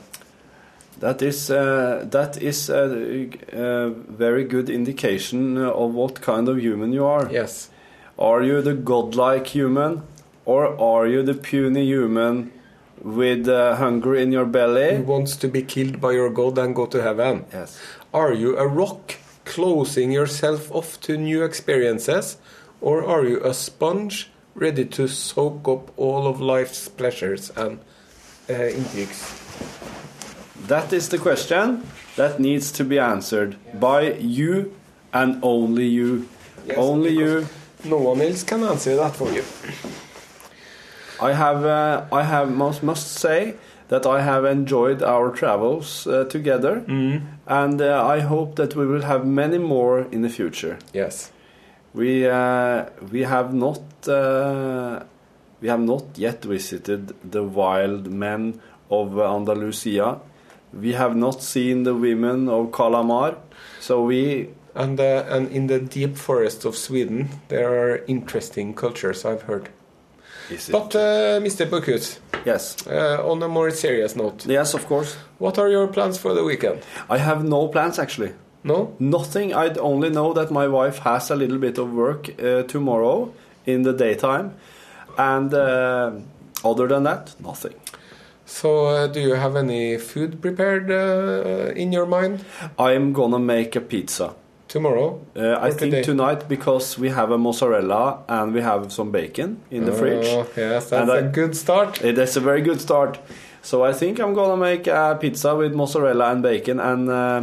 [SPEAKER 3] That is uh, that is a, a very good indication of what kind of human you are.
[SPEAKER 2] Yes.
[SPEAKER 3] Are you the godlike human, or are you the puny human with uh, hunger in your
[SPEAKER 2] Who
[SPEAKER 3] belly?
[SPEAKER 2] wants to be killed by your god and go to heaven?
[SPEAKER 3] Yes.
[SPEAKER 2] Are you a rock closing yourself off to new experiences, or are you a sponge ready to soak up all of life's pleasures and uh, intrigues?
[SPEAKER 3] That is the question that needs to be answered by you and only you. only you.
[SPEAKER 2] No one else can answer that for you.
[SPEAKER 3] I have, uh, I have must, must say that I have enjoyed our travels uh, together, and uh, I hope that we will have many more in the future.
[SPEAKER 2] Yes.
[SPEAKER 3] We uh, we have not uh, we have not yet visited the wild men of Andalusia. We have not seen the women of Calamar. So we
[SPEAKER 2] and uh, and in the deep forests of Sweden, there are interesting cultures I've heard.
[SPEAKER 3] Is it-
[SPEAKER 2] But uh, Mr. Bukut,
[SPEAKER 3] yes,
[SPEAKER 2] uh, on a more serious note,
[SPEAKER 3] yes, of course.
[SPEAKER 2] what are your plans for the weekend?
[SPEAKER 3] I have no plans actually.
[SPEAKER 2] No?
[SPEAKER 3] Nothing. I would only know that my wife has a little bit of work uh, tomorrow in the daytime, and uh, other than that, nothing.
[SPEAKER 2] So, uh, do you have any food prepared uh, in your mind
[SPEAKER 3] I am gonna make a pizza.
[SPEAKER 2] tomorrow?
[SPEAKER 3] Uh, I
[SPEAKER 2] Or
[SPEAKER 3] think
[SPEAKER 2] today?
[SPEAKER 3] tonight because we have a mozzarella and we have some bacon in the fridge.
[SPEAKER 2] Oh, yes,
[SPEAKER 3] And
[SPEAKER 2] that's
[SPEAKER 3] I-
[SPEAKER 2] a good start.
[SPEAKER 3] Eh, That's a very good start. So I think I'm gonna make a pizza with mozzarella and bacon, and uh,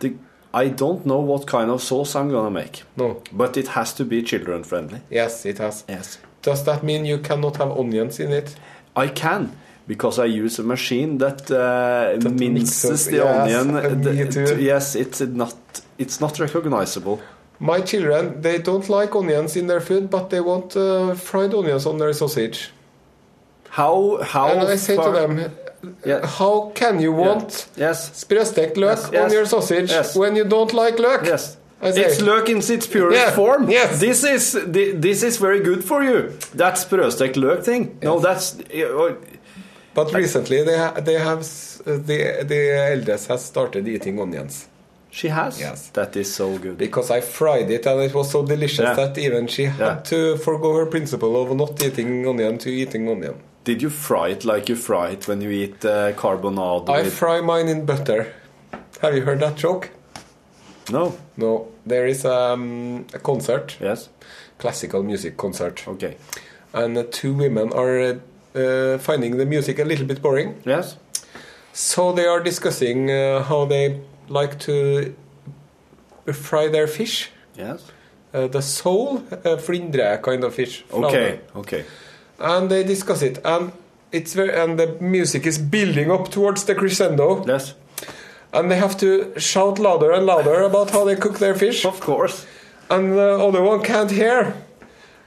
[SPEAKER 3] the, I don't know what kind of sauce I'm gonna make,
[SPEAKER 2] No.
[SPEAKER 3] but it has to be children friendly.
[SPEAKER 2] Yes, it has.
[SPEAKER 3] Yes,
[SPEAKER 2] Does that mean you cannot have onions in it?
[SPEAKER 3] I can because I use a machine that, uh, minces
[SPEAKER 2] mixes-
[SPEAKER 3] the
[SPEAKER 2] yes,
[SPEAKER 3] onion.
[SPEAKER 2] and me
[SPEAKER 3] The-
[SPEAKER 2] too.
[SPEAKER 3] yes, it's not it's not recognizable.
[SPEAKER 2] My children, they don't like onions in their food, but they want uh, fried onions on their sausage.
[SPEAKER 3] How how
[SPEAKER 2] and I say to
[SPEAKER 3] far-
[SPEAKER 2] them,
[SPEAKER 3] Yeah.
[SPEAKER 2] how can you
[SPEAKER 3] Yeah.
[SPEAKER 2] want
[SPEAKER 3] Yes.
[SPEAKER 2] sprøstekt løk
[SPEAKER 3] Yes, yes,
[SPEAKER 2] on your sausage
[SPEAKER 3] yes.
[SPEAKER 2] when you don't like løk?
[SPEAKER 3] Yes.
[SPEAKER 2] I say-
[SPEAKER 3] It's løk in its purest
[SPEAKER 2] Yeah,
[SPEAKER 3] form.
[SPEAKER 2] yes.
[SPEAKER 3] This is thi- this is very good for you. That's sprøstekt løk thing. No, that's uh,
[SPEAKER 2] But recently they, ha- they have s- the, the eldest has started eating onions
[SPEAKER 3] She has.
[SPEAKER 2] Yes.
[SPEAKER 3] That is so good.
[SPEAKER 2] because I fried it and it was so delicious
[SPEAKER 3] Yeah.
[SPEAKER 2] that even she had
[SPEAKER 3] Yeah.
[SPEAKER 2] to forgo her principle of not eating onion to eating onion.
[SPEAKER 3] Did you fry it like you fry it when you eat uh, carbonado?
[SPEAKER 2] I
[SPEAKER 3] with-
[SPEAKER 2] fry mine in butter. Have you heard that joke?
[SPEAKER 3] no.
[SPEAKER 2] No, there is um, a concert,
[SPEAKER 3] Yes.
[SPEAKER 2] classical music concert,
[SPEAKER 3] Okay.
[SPEAKER 2] and uh, two women are uh, uh, finding the music a little bit boring.
[SPEAKER 3] Yes.
[SPEAKER 2] So they are discussing uh, how they like to fry their fish,
[SPEAKER 3] Yes.
[SPEAKER 2] uh, the sole, uh, flyndre kind of fish. flounder.
[SPEAKER 3] Okay. Okay.
[SPEAKER 2] And they discuss it, and it's very, and the music is building up towards the crescendo,
[SPEAKER 3] Yes.
[SPEAKER 2] and they have to shout louder and louder about how they cook their fish,
[SPEAKER 3] Of course.
[SPEAKER 2] and the other one can't hear.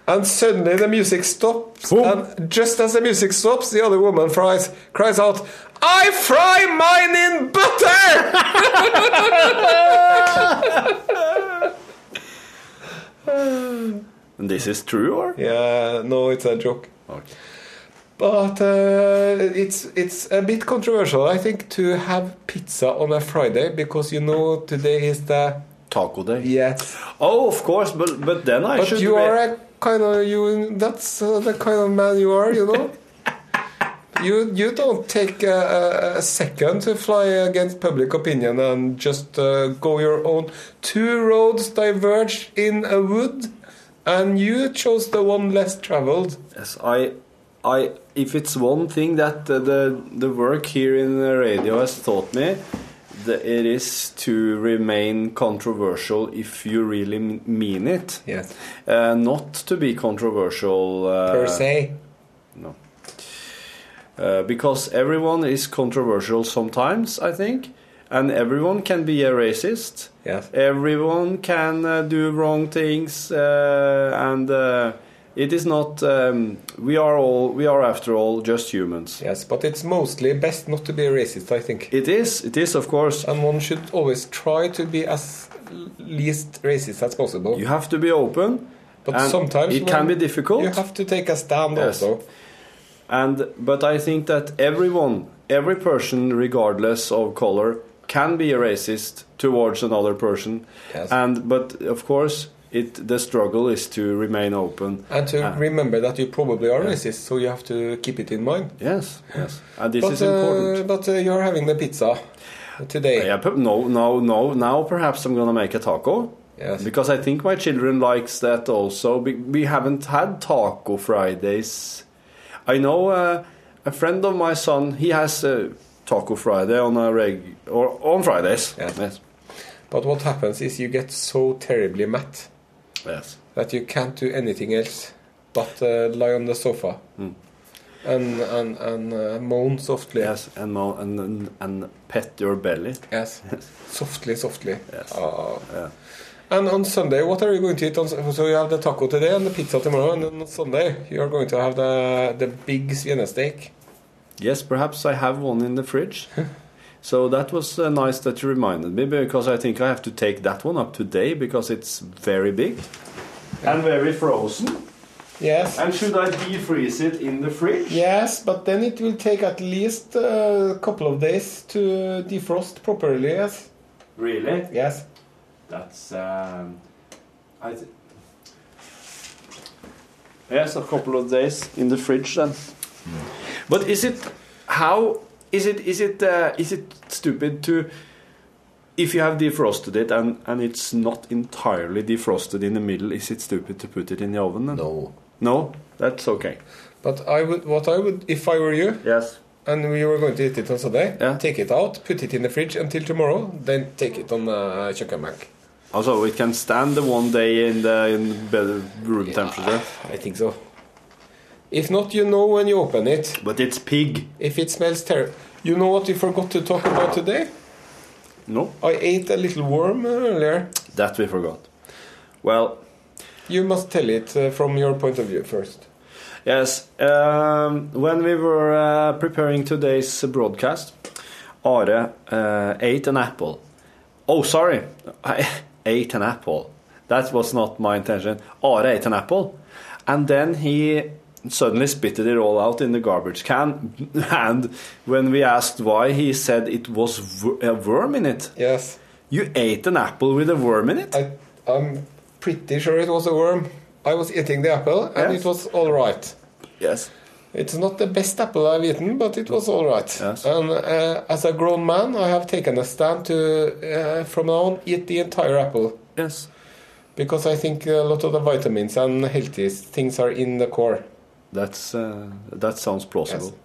[SPEAKER 2] And suddenly the music stops, and just as the music stops, the other woman fries, cries out, "I fry mine in butter!"
[SPEAKER 3] And this is true, or?
[SPEAKER 2] Yeah, no, it's a joke.
[SPEAKER 3] Okay.
[SPEAKER 2] But uh, it's it's a bit controversial, I think, to have pizza on a Friday because you know today is the
[SPEAKER 3] Taco day.
[SPEAKER 2] yes.
[SPEAKER 3] Oh, of course. But but then I
[SPEAKER 2] But
[SPEAKER 3] should.
[SPEAKER 2] you
[SPEAKER 3] be-
[SPEAKER 2] are a kind of you. That's uh, the kind of man you are. You know. You, you don't take a, a- a second to fly against public opinion and just uh, go your own. Two roads diverge in a wood, and you chose the one less traveled.
[SPEAKER 3] Yes, I, I, if it's one thing that uh, the the work here in the radio has taught me, the, it is to remain controversial if you really m- mean it.
[SPEAKER 2] Yes.
[SPEAKER 3] Uh, not to be controversial uh,
[SPEAKER 2] Per se.
[SPEAKER 3] No. Uh, because everyone is controversial sometimes, I think, and everyone can be a racist.
[SPEAKER 2] Yes.
[SPEAKER 3] Everyone can uh, do wrong things, uh, and uh, it is not. Um, we are all. We are after all just humans.
[SPEAKER 2] Yes, but it's mostly best not to be a racist, I think.
[SPEAKER 3] It is. It is, of course.
[SPEAKER 2] And one should always try to be as l- least racist as possible.
[SPEAKER 3] You have to be open,
[SPEAKER 2] but
[SPEAKER 3] and
[SPEAKER 2] sometimes
[SPEAKER 3] it can be
[SPEAKER 2] when
[SPEAKER 3] difficult.
[SPEAKER 2] You have to take a stand
[SPEAKER 3] Yes.
[SPEAKER 2] also.
[SPEAKER 3] And but I think that everyone, every person, regardless of color, can be a racist towards another person.
[SPEAKER 2] Yes.
[SPEAKER 3] And but of course, it the struggle is to remain open.
[SPEAKER 2] And to
[SPEAKER 3] Ah.
[SPEAKER 2] remember that you probably are racist, so you have to keep it in mind.
[SPEAKER 3] Yes, yes, and this
[SPEAKER 2] but
[SPEAKER 3] is
[SPEAKER 2] uh,
[SPEAKER 3] important.
[SPEAKER 2] but uh, you're having the pizza. today.
[SPEAKER 3] Yeah, but no, no, no. Now perhaps I'm gonna make a taco.
[SPEAKER 2] Yes.
[SPEAKER 3] Because I think my children likes that also. We, we haven't had taco Fridays. I know uh, a friend of my son. He has uh, taco Friday on a reg or on Fridays.
[SPEAKER 2] Yes. But what happens is you get so terribly mat
[SPEAKER 3] Yes.
[SPEAKER 2] that you can't do anything else but uh, lie on the sofa
[SPEAKER 3] Hmm.
[SPEAKER 2] and and and uh, moan softly.
[SPEAKER 3] Yes, and mo- and and, and pet your belly.
[SPEAKER 2] Yes. Softly, softly.
[SPEAKER 3] Yes.
[SPEAKER 2] Ah.
[SPEAKER 3] Yeah.
[SPEAKER 2] And on Sunday, what are you going to eat? On, so you have the taco today and the pizza tomorrow, and then on Sunday you are going to have the the big svinesteak.
[SPEAKER 3] Yes, perhaps I have one in the fridge. so that was uh, nice that you reminded me because I think I have to take that one up today because it's very big and very frozen.
[SPEAKER 2] Yes.
[SPEAKER 3] And should I defreeze it in the fridge?
[SPEAKER 2] Yes, but then it will take at least a couple of days to defrost properly. Yes.
[SPEAKER 3] Really?
[SPEAKER 2] Yes.
[SPEAKER 3] That's um, I. Th- yes, a couple of days in the fridge then. But is it how is it is it uh, is it stupid to if you have defrosted it and and it's not entirely defrosted in the middle, is it stupid to put it in the oven? Then?
[SPEAKER 2] No.
[SPEAKER 3] No, that's okay.
[SPEAKER 2] But I would, what I would, if I were you,
[SPEAKER 3] Yes.
[SPEAKER 2] and we were going to eat it on Sunday,
[SPEAKER 3] Yeah.
[SPEAKER 2] take it out, put it in the fridge until tomorrow, then take it on uh, kjøkkenbenk.
[SPEAKER 3] Also, it can stand the one day in the in better room temperature,
[SPEAKER 2] I think so. If not, you know when you open it.
[SPEAKER 3] but it's pig.
[SPEAKER 2] If it smells terrible. You know what we forgot to talk about today?
[SPEAKER 3] No,
[SPEAKER 2] I ate a little worm earlier.
[SPEAKER 3] that we forgot. Well,
[SPEAKER 2] You must tell it uh, from your point of view first.
[SPEAKER 3] Yes. Um, when we were uh, preparing today's broadcast, Are uh, ate an apple. Oh, sorry. I ate an apple. That was not my intention. Are ate an apple. And then he suddenly spitted it all out in the garbage can. And when we asked why, he said it was w- a worm in it.
[SPEAKER 2] Yes.
[SPEAKER 3] You ate an apple with a worm in it?
[SPEAKER 2] I, I'm pretty sure it was a worm. I was eating the apple, and
[SPEAKER 3] Yes.
[SPEAKER 2] it was all right.
[SPEAKER 3] Yes.
[SPEAKER 2] It's not the best apple I've eaten, but it was all right.
[SPEAKER 3] Yes.
[SPEAKER 2] And uh, as a grown man, I have taken a stand to, uh, from now on, eat the entire apple.
[SPEAKER 3] Yes.
[SPEAKER 2] Because I think a lot of the vitamins and healthy things are in the core.
[SPEAKER 3] That's, uh, that sounds plausible.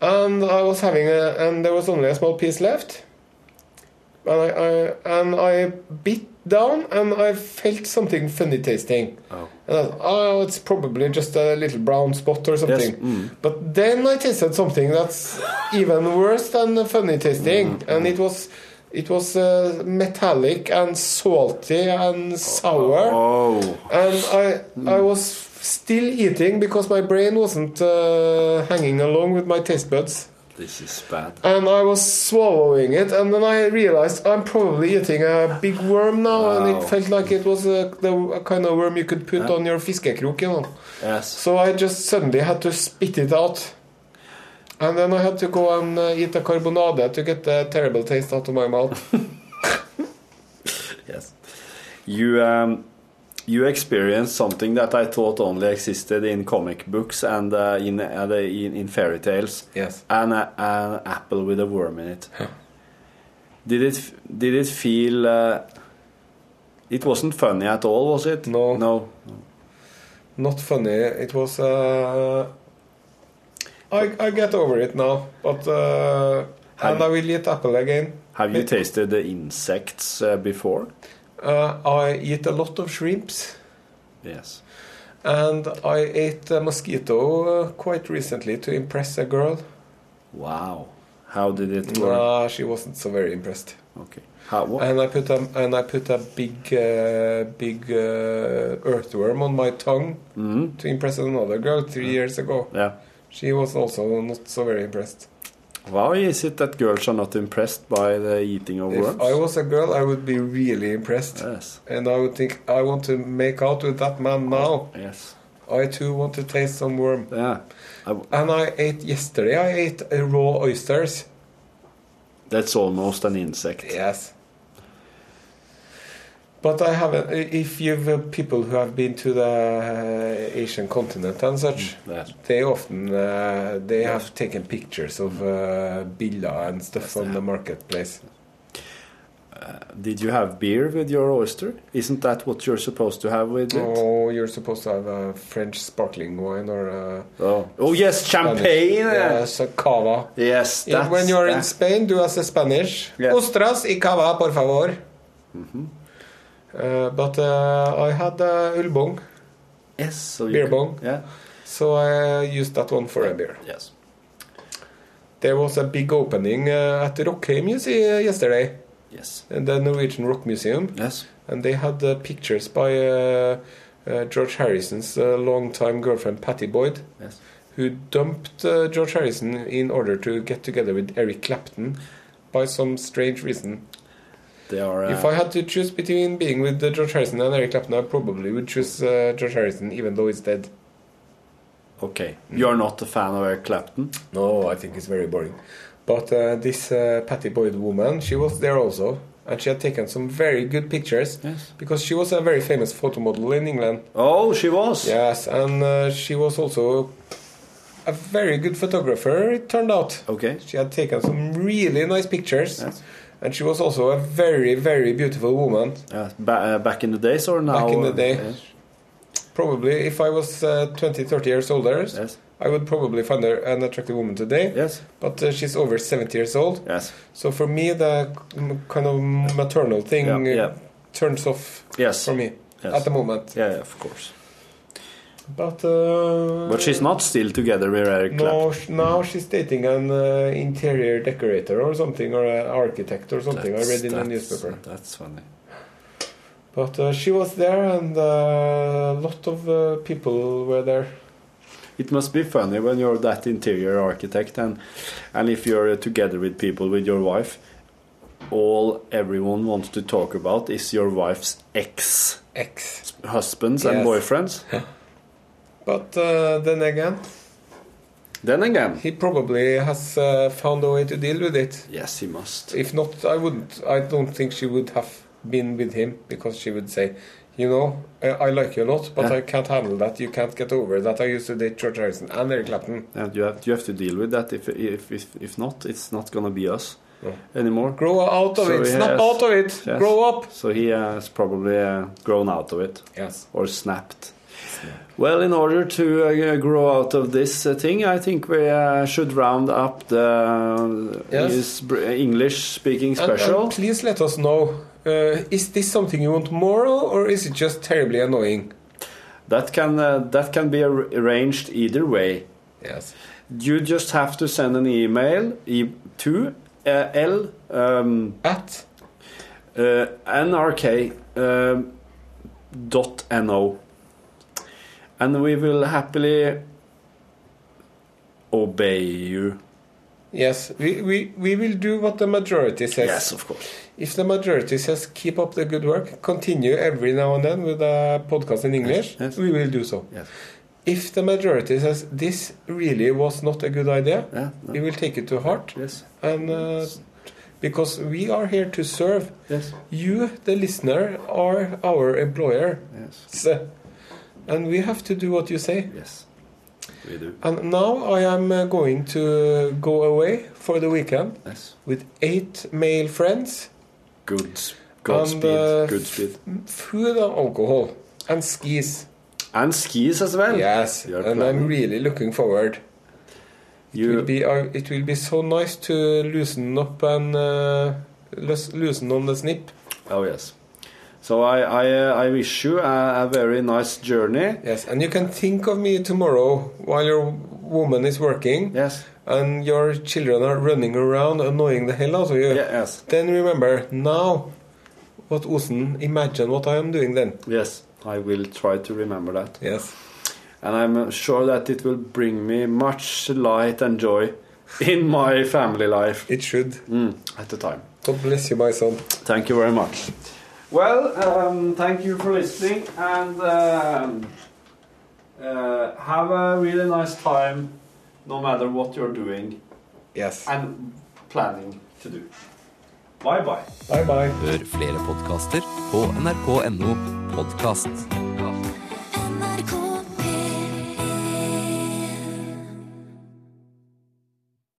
[SPEAKER 2] And I was having a, and there was only a small piece left. And I, I and I bit down, and I felt something funny tasting.
[SPEAKER 3] Oh.
[SPEAKER 2] And I thought, oh, it's probably just a little brown spot or something.
[SPEAKER 3] mm.
[SPEAKER 2] But then I tasted something that's even worse than funny tasting,
[SPEAKER 3] Mm,
[SPEAKER 2] and it was it was uh, metallic and salty and sour.
[SPEAKER 3] Oh. Mm.
[SPEAKER 2] And I I was still eating because my brain wasn't uh, hanging along with my taste buds.
[SPEAKER 3] This is bad.
[SPEAKER 2] And I was swallowing it, and then I realized I'm probably eating a big worm now, and
[SPEAKER 3] Wow.
[SPEAKER 2] it felt like it was a, the a kind of worm you could put on your fiskekrok, you know.
[SPEAKER 3] Yes.
[SPEAKER 2] So I just suddenly had to spit it out. And then I had to go and uh, eat a carbonade to get the terrible taste out of my mouth.
[SPEAKER 3] Yes. You um, you experienced something that I thought only existed in comic books and uh, in, uh, the- in in fairy tales.
[SPEAKER 2] Yes.
[SPEAKER 3] An a- an apple with a worm in it. did it f- did it feel? Uh, it wasn't funny at all, was it?
[SPEAKER 2] No.
[SPEAKER 3] No.
[SPEAKER 2] Not funny. It was. Uh, I, I get over it now, but uh,
[SPEAKER 3] Have-
[SPEAKER 2] and I will eat apple again.
[SPEAKER 3] Have you
[SPEAKER 2] It-
[SPEAKER 3] tasted the insects uh, before?
[SPEAKER 2] Uh, I eat a lot of shrimps,
[SPEAKER 3] Yes.
[SPEAKER 2] and I ate a mosquito uh, quite recently to impress a girl.
[SPEAKER 3] Wow. How did it work?
[SPEAKER 2] Nah, she wasn't so very impressed.
[SPEAKER 3] Okay. How? What?
[SPEAKER 2] And I put a and I put a big uh, big uh, earthworm on my tongue
[SPEAKER 3] Mhm.
[SPEAKER 2] to impress another girl three years ago.
[SPEAKER 3] Yeah.
[SPEAKER 2] She was also not so very impressed.
[SPEAKER 3] Why is it that girls are not impressed by the eating of
[SPEAKER 2] If
[SPEAKER 3] worms?
[SPEAKER 2] I was a girl, I would be really impressed.
[SPEAKER 3] Yes.
[SPEAKER 2] And I would think, I want to make out with that man now.
[SPEAKER 3] Yes.
[SPEAKER 2] I too want to taste some worm.
[SPEAKER 3] Yeah. I,
[SPEAKER 2] And I ate yesterday, I ate uh, raw oysters.
[SPEAKER 3] that's almost an insect.
[SPEAKER 2] Yes. But I haven't. i- If you've uh, people who have been to the uh, Asian continent and such,
[SPEAKER 3] Mm, Yes.
[SPEAKER 2] they often uh, they have taken pictures of uh, billa and stuff on the marketplace.
[SPEAKER 3] Did you have beer with your oyster? Isn't that what you're supposed to have with it?
[SPEAKER 2] Oh, you're supposed to have a French sparkling wine or a
[SPEAKER 3] oh, yes, champagne.
[SPEAKER 2] Yes, a cava.
[SPEAKER 3] Yes,
[SPEAKER 2] Yeah, when you are in
[SPEAKER 3] that.
[SPEAKER 2] Spain, do as a Spanish.
[SPEAKER 3] Yes. Mm-hmm.
[SPEAKER 2] Ostras y cava, por favor. Uh, but uh, I had uh, ulbong,
[SPEAKER 3] Yes, so you
[SPEAKER 2] beer
[SPEAKER 3] could-
[SPEAKER 2] bong,
[SPEAKER 3] Yeah.
[SPEAKER 2] so I used that one for a beer.
[SPEAKER 3] Yes.
[SPEAKER 2] There was a big opening uh, at Rockheim you see, uh, yesterday,
[SPEAKER 3] Yes.
[SPEAKER 2] in the Norwegian Rock Museum,
[SPEAKER 3] Yes.
[SPEAKER 2] and they had uh, pictures by uh, uh, George Harrison's uh, longtime girlfriend Patty Boyd.
[SPEAKER 3] Yes.
[SPEAKER 2] who dumped uh, George Harrison in order to get together with Eric Clapton by some strange reason.
[SPEAKER 3] They are. Uh,
[SPEAKER 2] If I had to choose between being with uh, George Harrison and Eric Clapton, I probably would choose uh, George Harrison, even though he's dead.
[SPEAKER 3] okay, you're not a fan of Eric Clapton.
[SPEAKER 2] No, I think it's very boring. But uh, this uh, Patty Boyd woman, she was there also, and she had taken some very good pictures
[SPEAKER 3] Yes.
[SPEAKER 2] because she was a very famous photo model in England.
[SPEAKER 3] Oh, she was.
[SPEAKER 2] Yes, and uh, she was also a very good photographer, it turned out.
[SPEAKER 3] Okay.
[SPEAKER 2] She had taken some really nice pictures.
[SPEAKER 3] Yes.
[SPEAKER 2] And she was also a very, very beautiful woman.
[SPEAKER 3] Yeah, ba- uh, back in the days or now?
[SPEAKER 2] Back in the
[SPEAKER 3] uh,
[SPEAKER 2] day.
[SPEAKER 3] yes,
[SPEAKER 2] Probably, if I was uh, 20, 30 years older,
[SPEAKER 3] Yes.
[SPEAKER 2] I would probably find her an attractive woman today.
[SPEAKER 3] Yes.
[SPEAKER 2] But uh, she's over 70 years old.
[SPEAKER 3] Yes.
[SPEAKER 2] So for me, the m- kind of maternal thing
[SPEAKER 3] Yeah,
[SPEAKER 2] uh,
[SPEAKER 3] yeah.
[SPEAKER 2] turns off
[SPEAKER 3] Yes.
[SPEAKER 2] for me
[SPEAKER 3] Yes.
[SPEAKER 2] at the moment.
[SPEAKER 3] Yeah, yeah, of course.
[SPEAKER 2] But, uh,
[SPEAKER 3] But she's not still together with Eric Clapton.
[SPEAKER 2] No, sh- now she's dating an uh, interior decorator or something, or an architect or something. I read in the newspaper.
[SPEAKER 3] That's funny.
[SPEAKER 2] But uh, she was there, and uh, a lot of uh, people were there.
[SPEAKER 3] It must be funny when you're that interior architect and and if you're uh, together with people with your wife, all everyone wants to talk about is your wife's ex
[SPEAKER 2] X.
[SPEAKER 3] husbands and
[SPEAKER 2] Yes.
[SPEAKER 3] boyfriends.
[SPEAKER 2] But uh, then again,
[SPEAKER 3] Then again,
[SPEAKER 2] he probably has uh, found a way to deal with it.
[SPEAKER 3] yes, he must.
[SPEAKER 2] If not, I wouldn't. I don't think she would have been with him because she would say, "You know, I, I like you a lot, but
[SPEAKER 3] Yeah.
[SPEAKER 2] I can't handle that. You can't get over that. I used to date George Harrison and Eric Clapton."
[SPEAKER 3] And you have you have to deal with that. If if if, if not, it's not gonna be us
[SPEAKER 2] No.
[SPEAKER 3] anymore.
[SPEAKER 2] Grow out of
[SPEAKER 3] So
[SPEAKER 2] it.
[SPEAKER 3] he
[SPEAKER 2] Snap
[SPEAKER 3] has-
[SPEAKER 2] out of it.
[SPEAKER 3] yes.
[SPEAKER 2] Grow up.
[SPEAKER 3] So he has probably uh, grown out of it.
[SPEAKER 2] Yes.
[SPEAKER 3] or snapped. Well, in order to uh, grow out of this uh, thing, I think we uh, should round up uh, the
[SPEAKER 2] Yes. Uh,
[SPEAKER 3] English speaking
[SPEAKER 2] And- and
[SPEAKER 3] special.
[SPEAKER 2] please let us know. Uh, is this something you want more of, or is it just terribly annoying?
[SPEAKER 3] that can uh, that can be ar- arranged either way.
[SPEAKER 2] Yes.
[SPEAKER 3] You just have to send an email e- to uh, l um,
[SPEAKER 2] At
[SPEAKER 3] uh, nrk um, dot no, and we will happily obey you.
[SPEAKER 2] yes, we, we, we will do what the majority says.
[SPEAKER 3] yes of course.
[SPEAKER 2] If the majority says keep up the good work, continue every now and then with a podcast in English,
[SPEAKER 3] yes.
[SPEAKER 2] we will do so.
[SPEAKER 3] Yes.
[SPEAKER 2] If the majority says this really was not a good idea,
[SPEAKER 3] Yeah,
[SPEAKER 2] we will take it to heart,
[SPEAKER 3] Yes.
[SPEAKER 2] and uh, because we are here to serve
[SPEAKER 3] Yes.
[SPEAKER 2] you, the listener, are our employer.
[SPEAKER 3] Yes.
[SPEAKER 2] So, and we have to do what you say.
[SPEAKER 3] Yes. We do.
[SPEAKER 2] And now I am uh, going to go away for the weekend
[SPEAKER 3] Yes.
[SPEAKER 2] with eight male friends,
[SPEAKER 3] Good.
[SPEAKER 2] Godspeed, uh,
[SPEAKER 3] Godspeed.
[SPEAKER 2] food and alcohol, and skis.
[SPEAKER 3] And skis as well.
[SPEAKER 2] Yes,
[SPEAKER 3] You're
[SPEAKER 2] and I'm
[SPEAKER 3] planning.
[SPEAKER 2] really looking forward. It will
[SPEAKER 3] You,
[SPEAKER 2] be uh, it will be so nice to loosen up and uh, lus- loosen on the snip.
[SPEAKER 3] oh yes. So I I, uh, I wish you a, a very nice journey.
[SPEAKER 2] Yes, and you can think of me tomorrow while your woman is working
[SPEAKER 3] Yes.
[SPEAKER 2] and your children are running around annoying the hell out of you.
[SPEAKER 3] Yeah, yes.
[SPEAKER 2] Then remember, now, what Osen, imagine what I am doing then.
[SPEAKER 3] Yes. I will try to remember that,
[SPEAKER 2] Yes.
[SPEAKER 3] and I'm uh, sure that it will bring me much light and joy in my family life
[SPEAKER 2] It should.
[SPEAKER 3] mm, at the time.
[SPEAKER 2] God bless you, my son.
[SPEAKER 3] Thank you very much. Well, um, thank you for listening and um, uh, have a really nice time no matter what you're doing
[SPEAKER 2] Yes.
[SPEAKER 3] and planning to do. Bye bye.
[SPEAKER 2] Bye bye.
[SPEAKER 11] Hør flere podkaster på nrk.no podkast.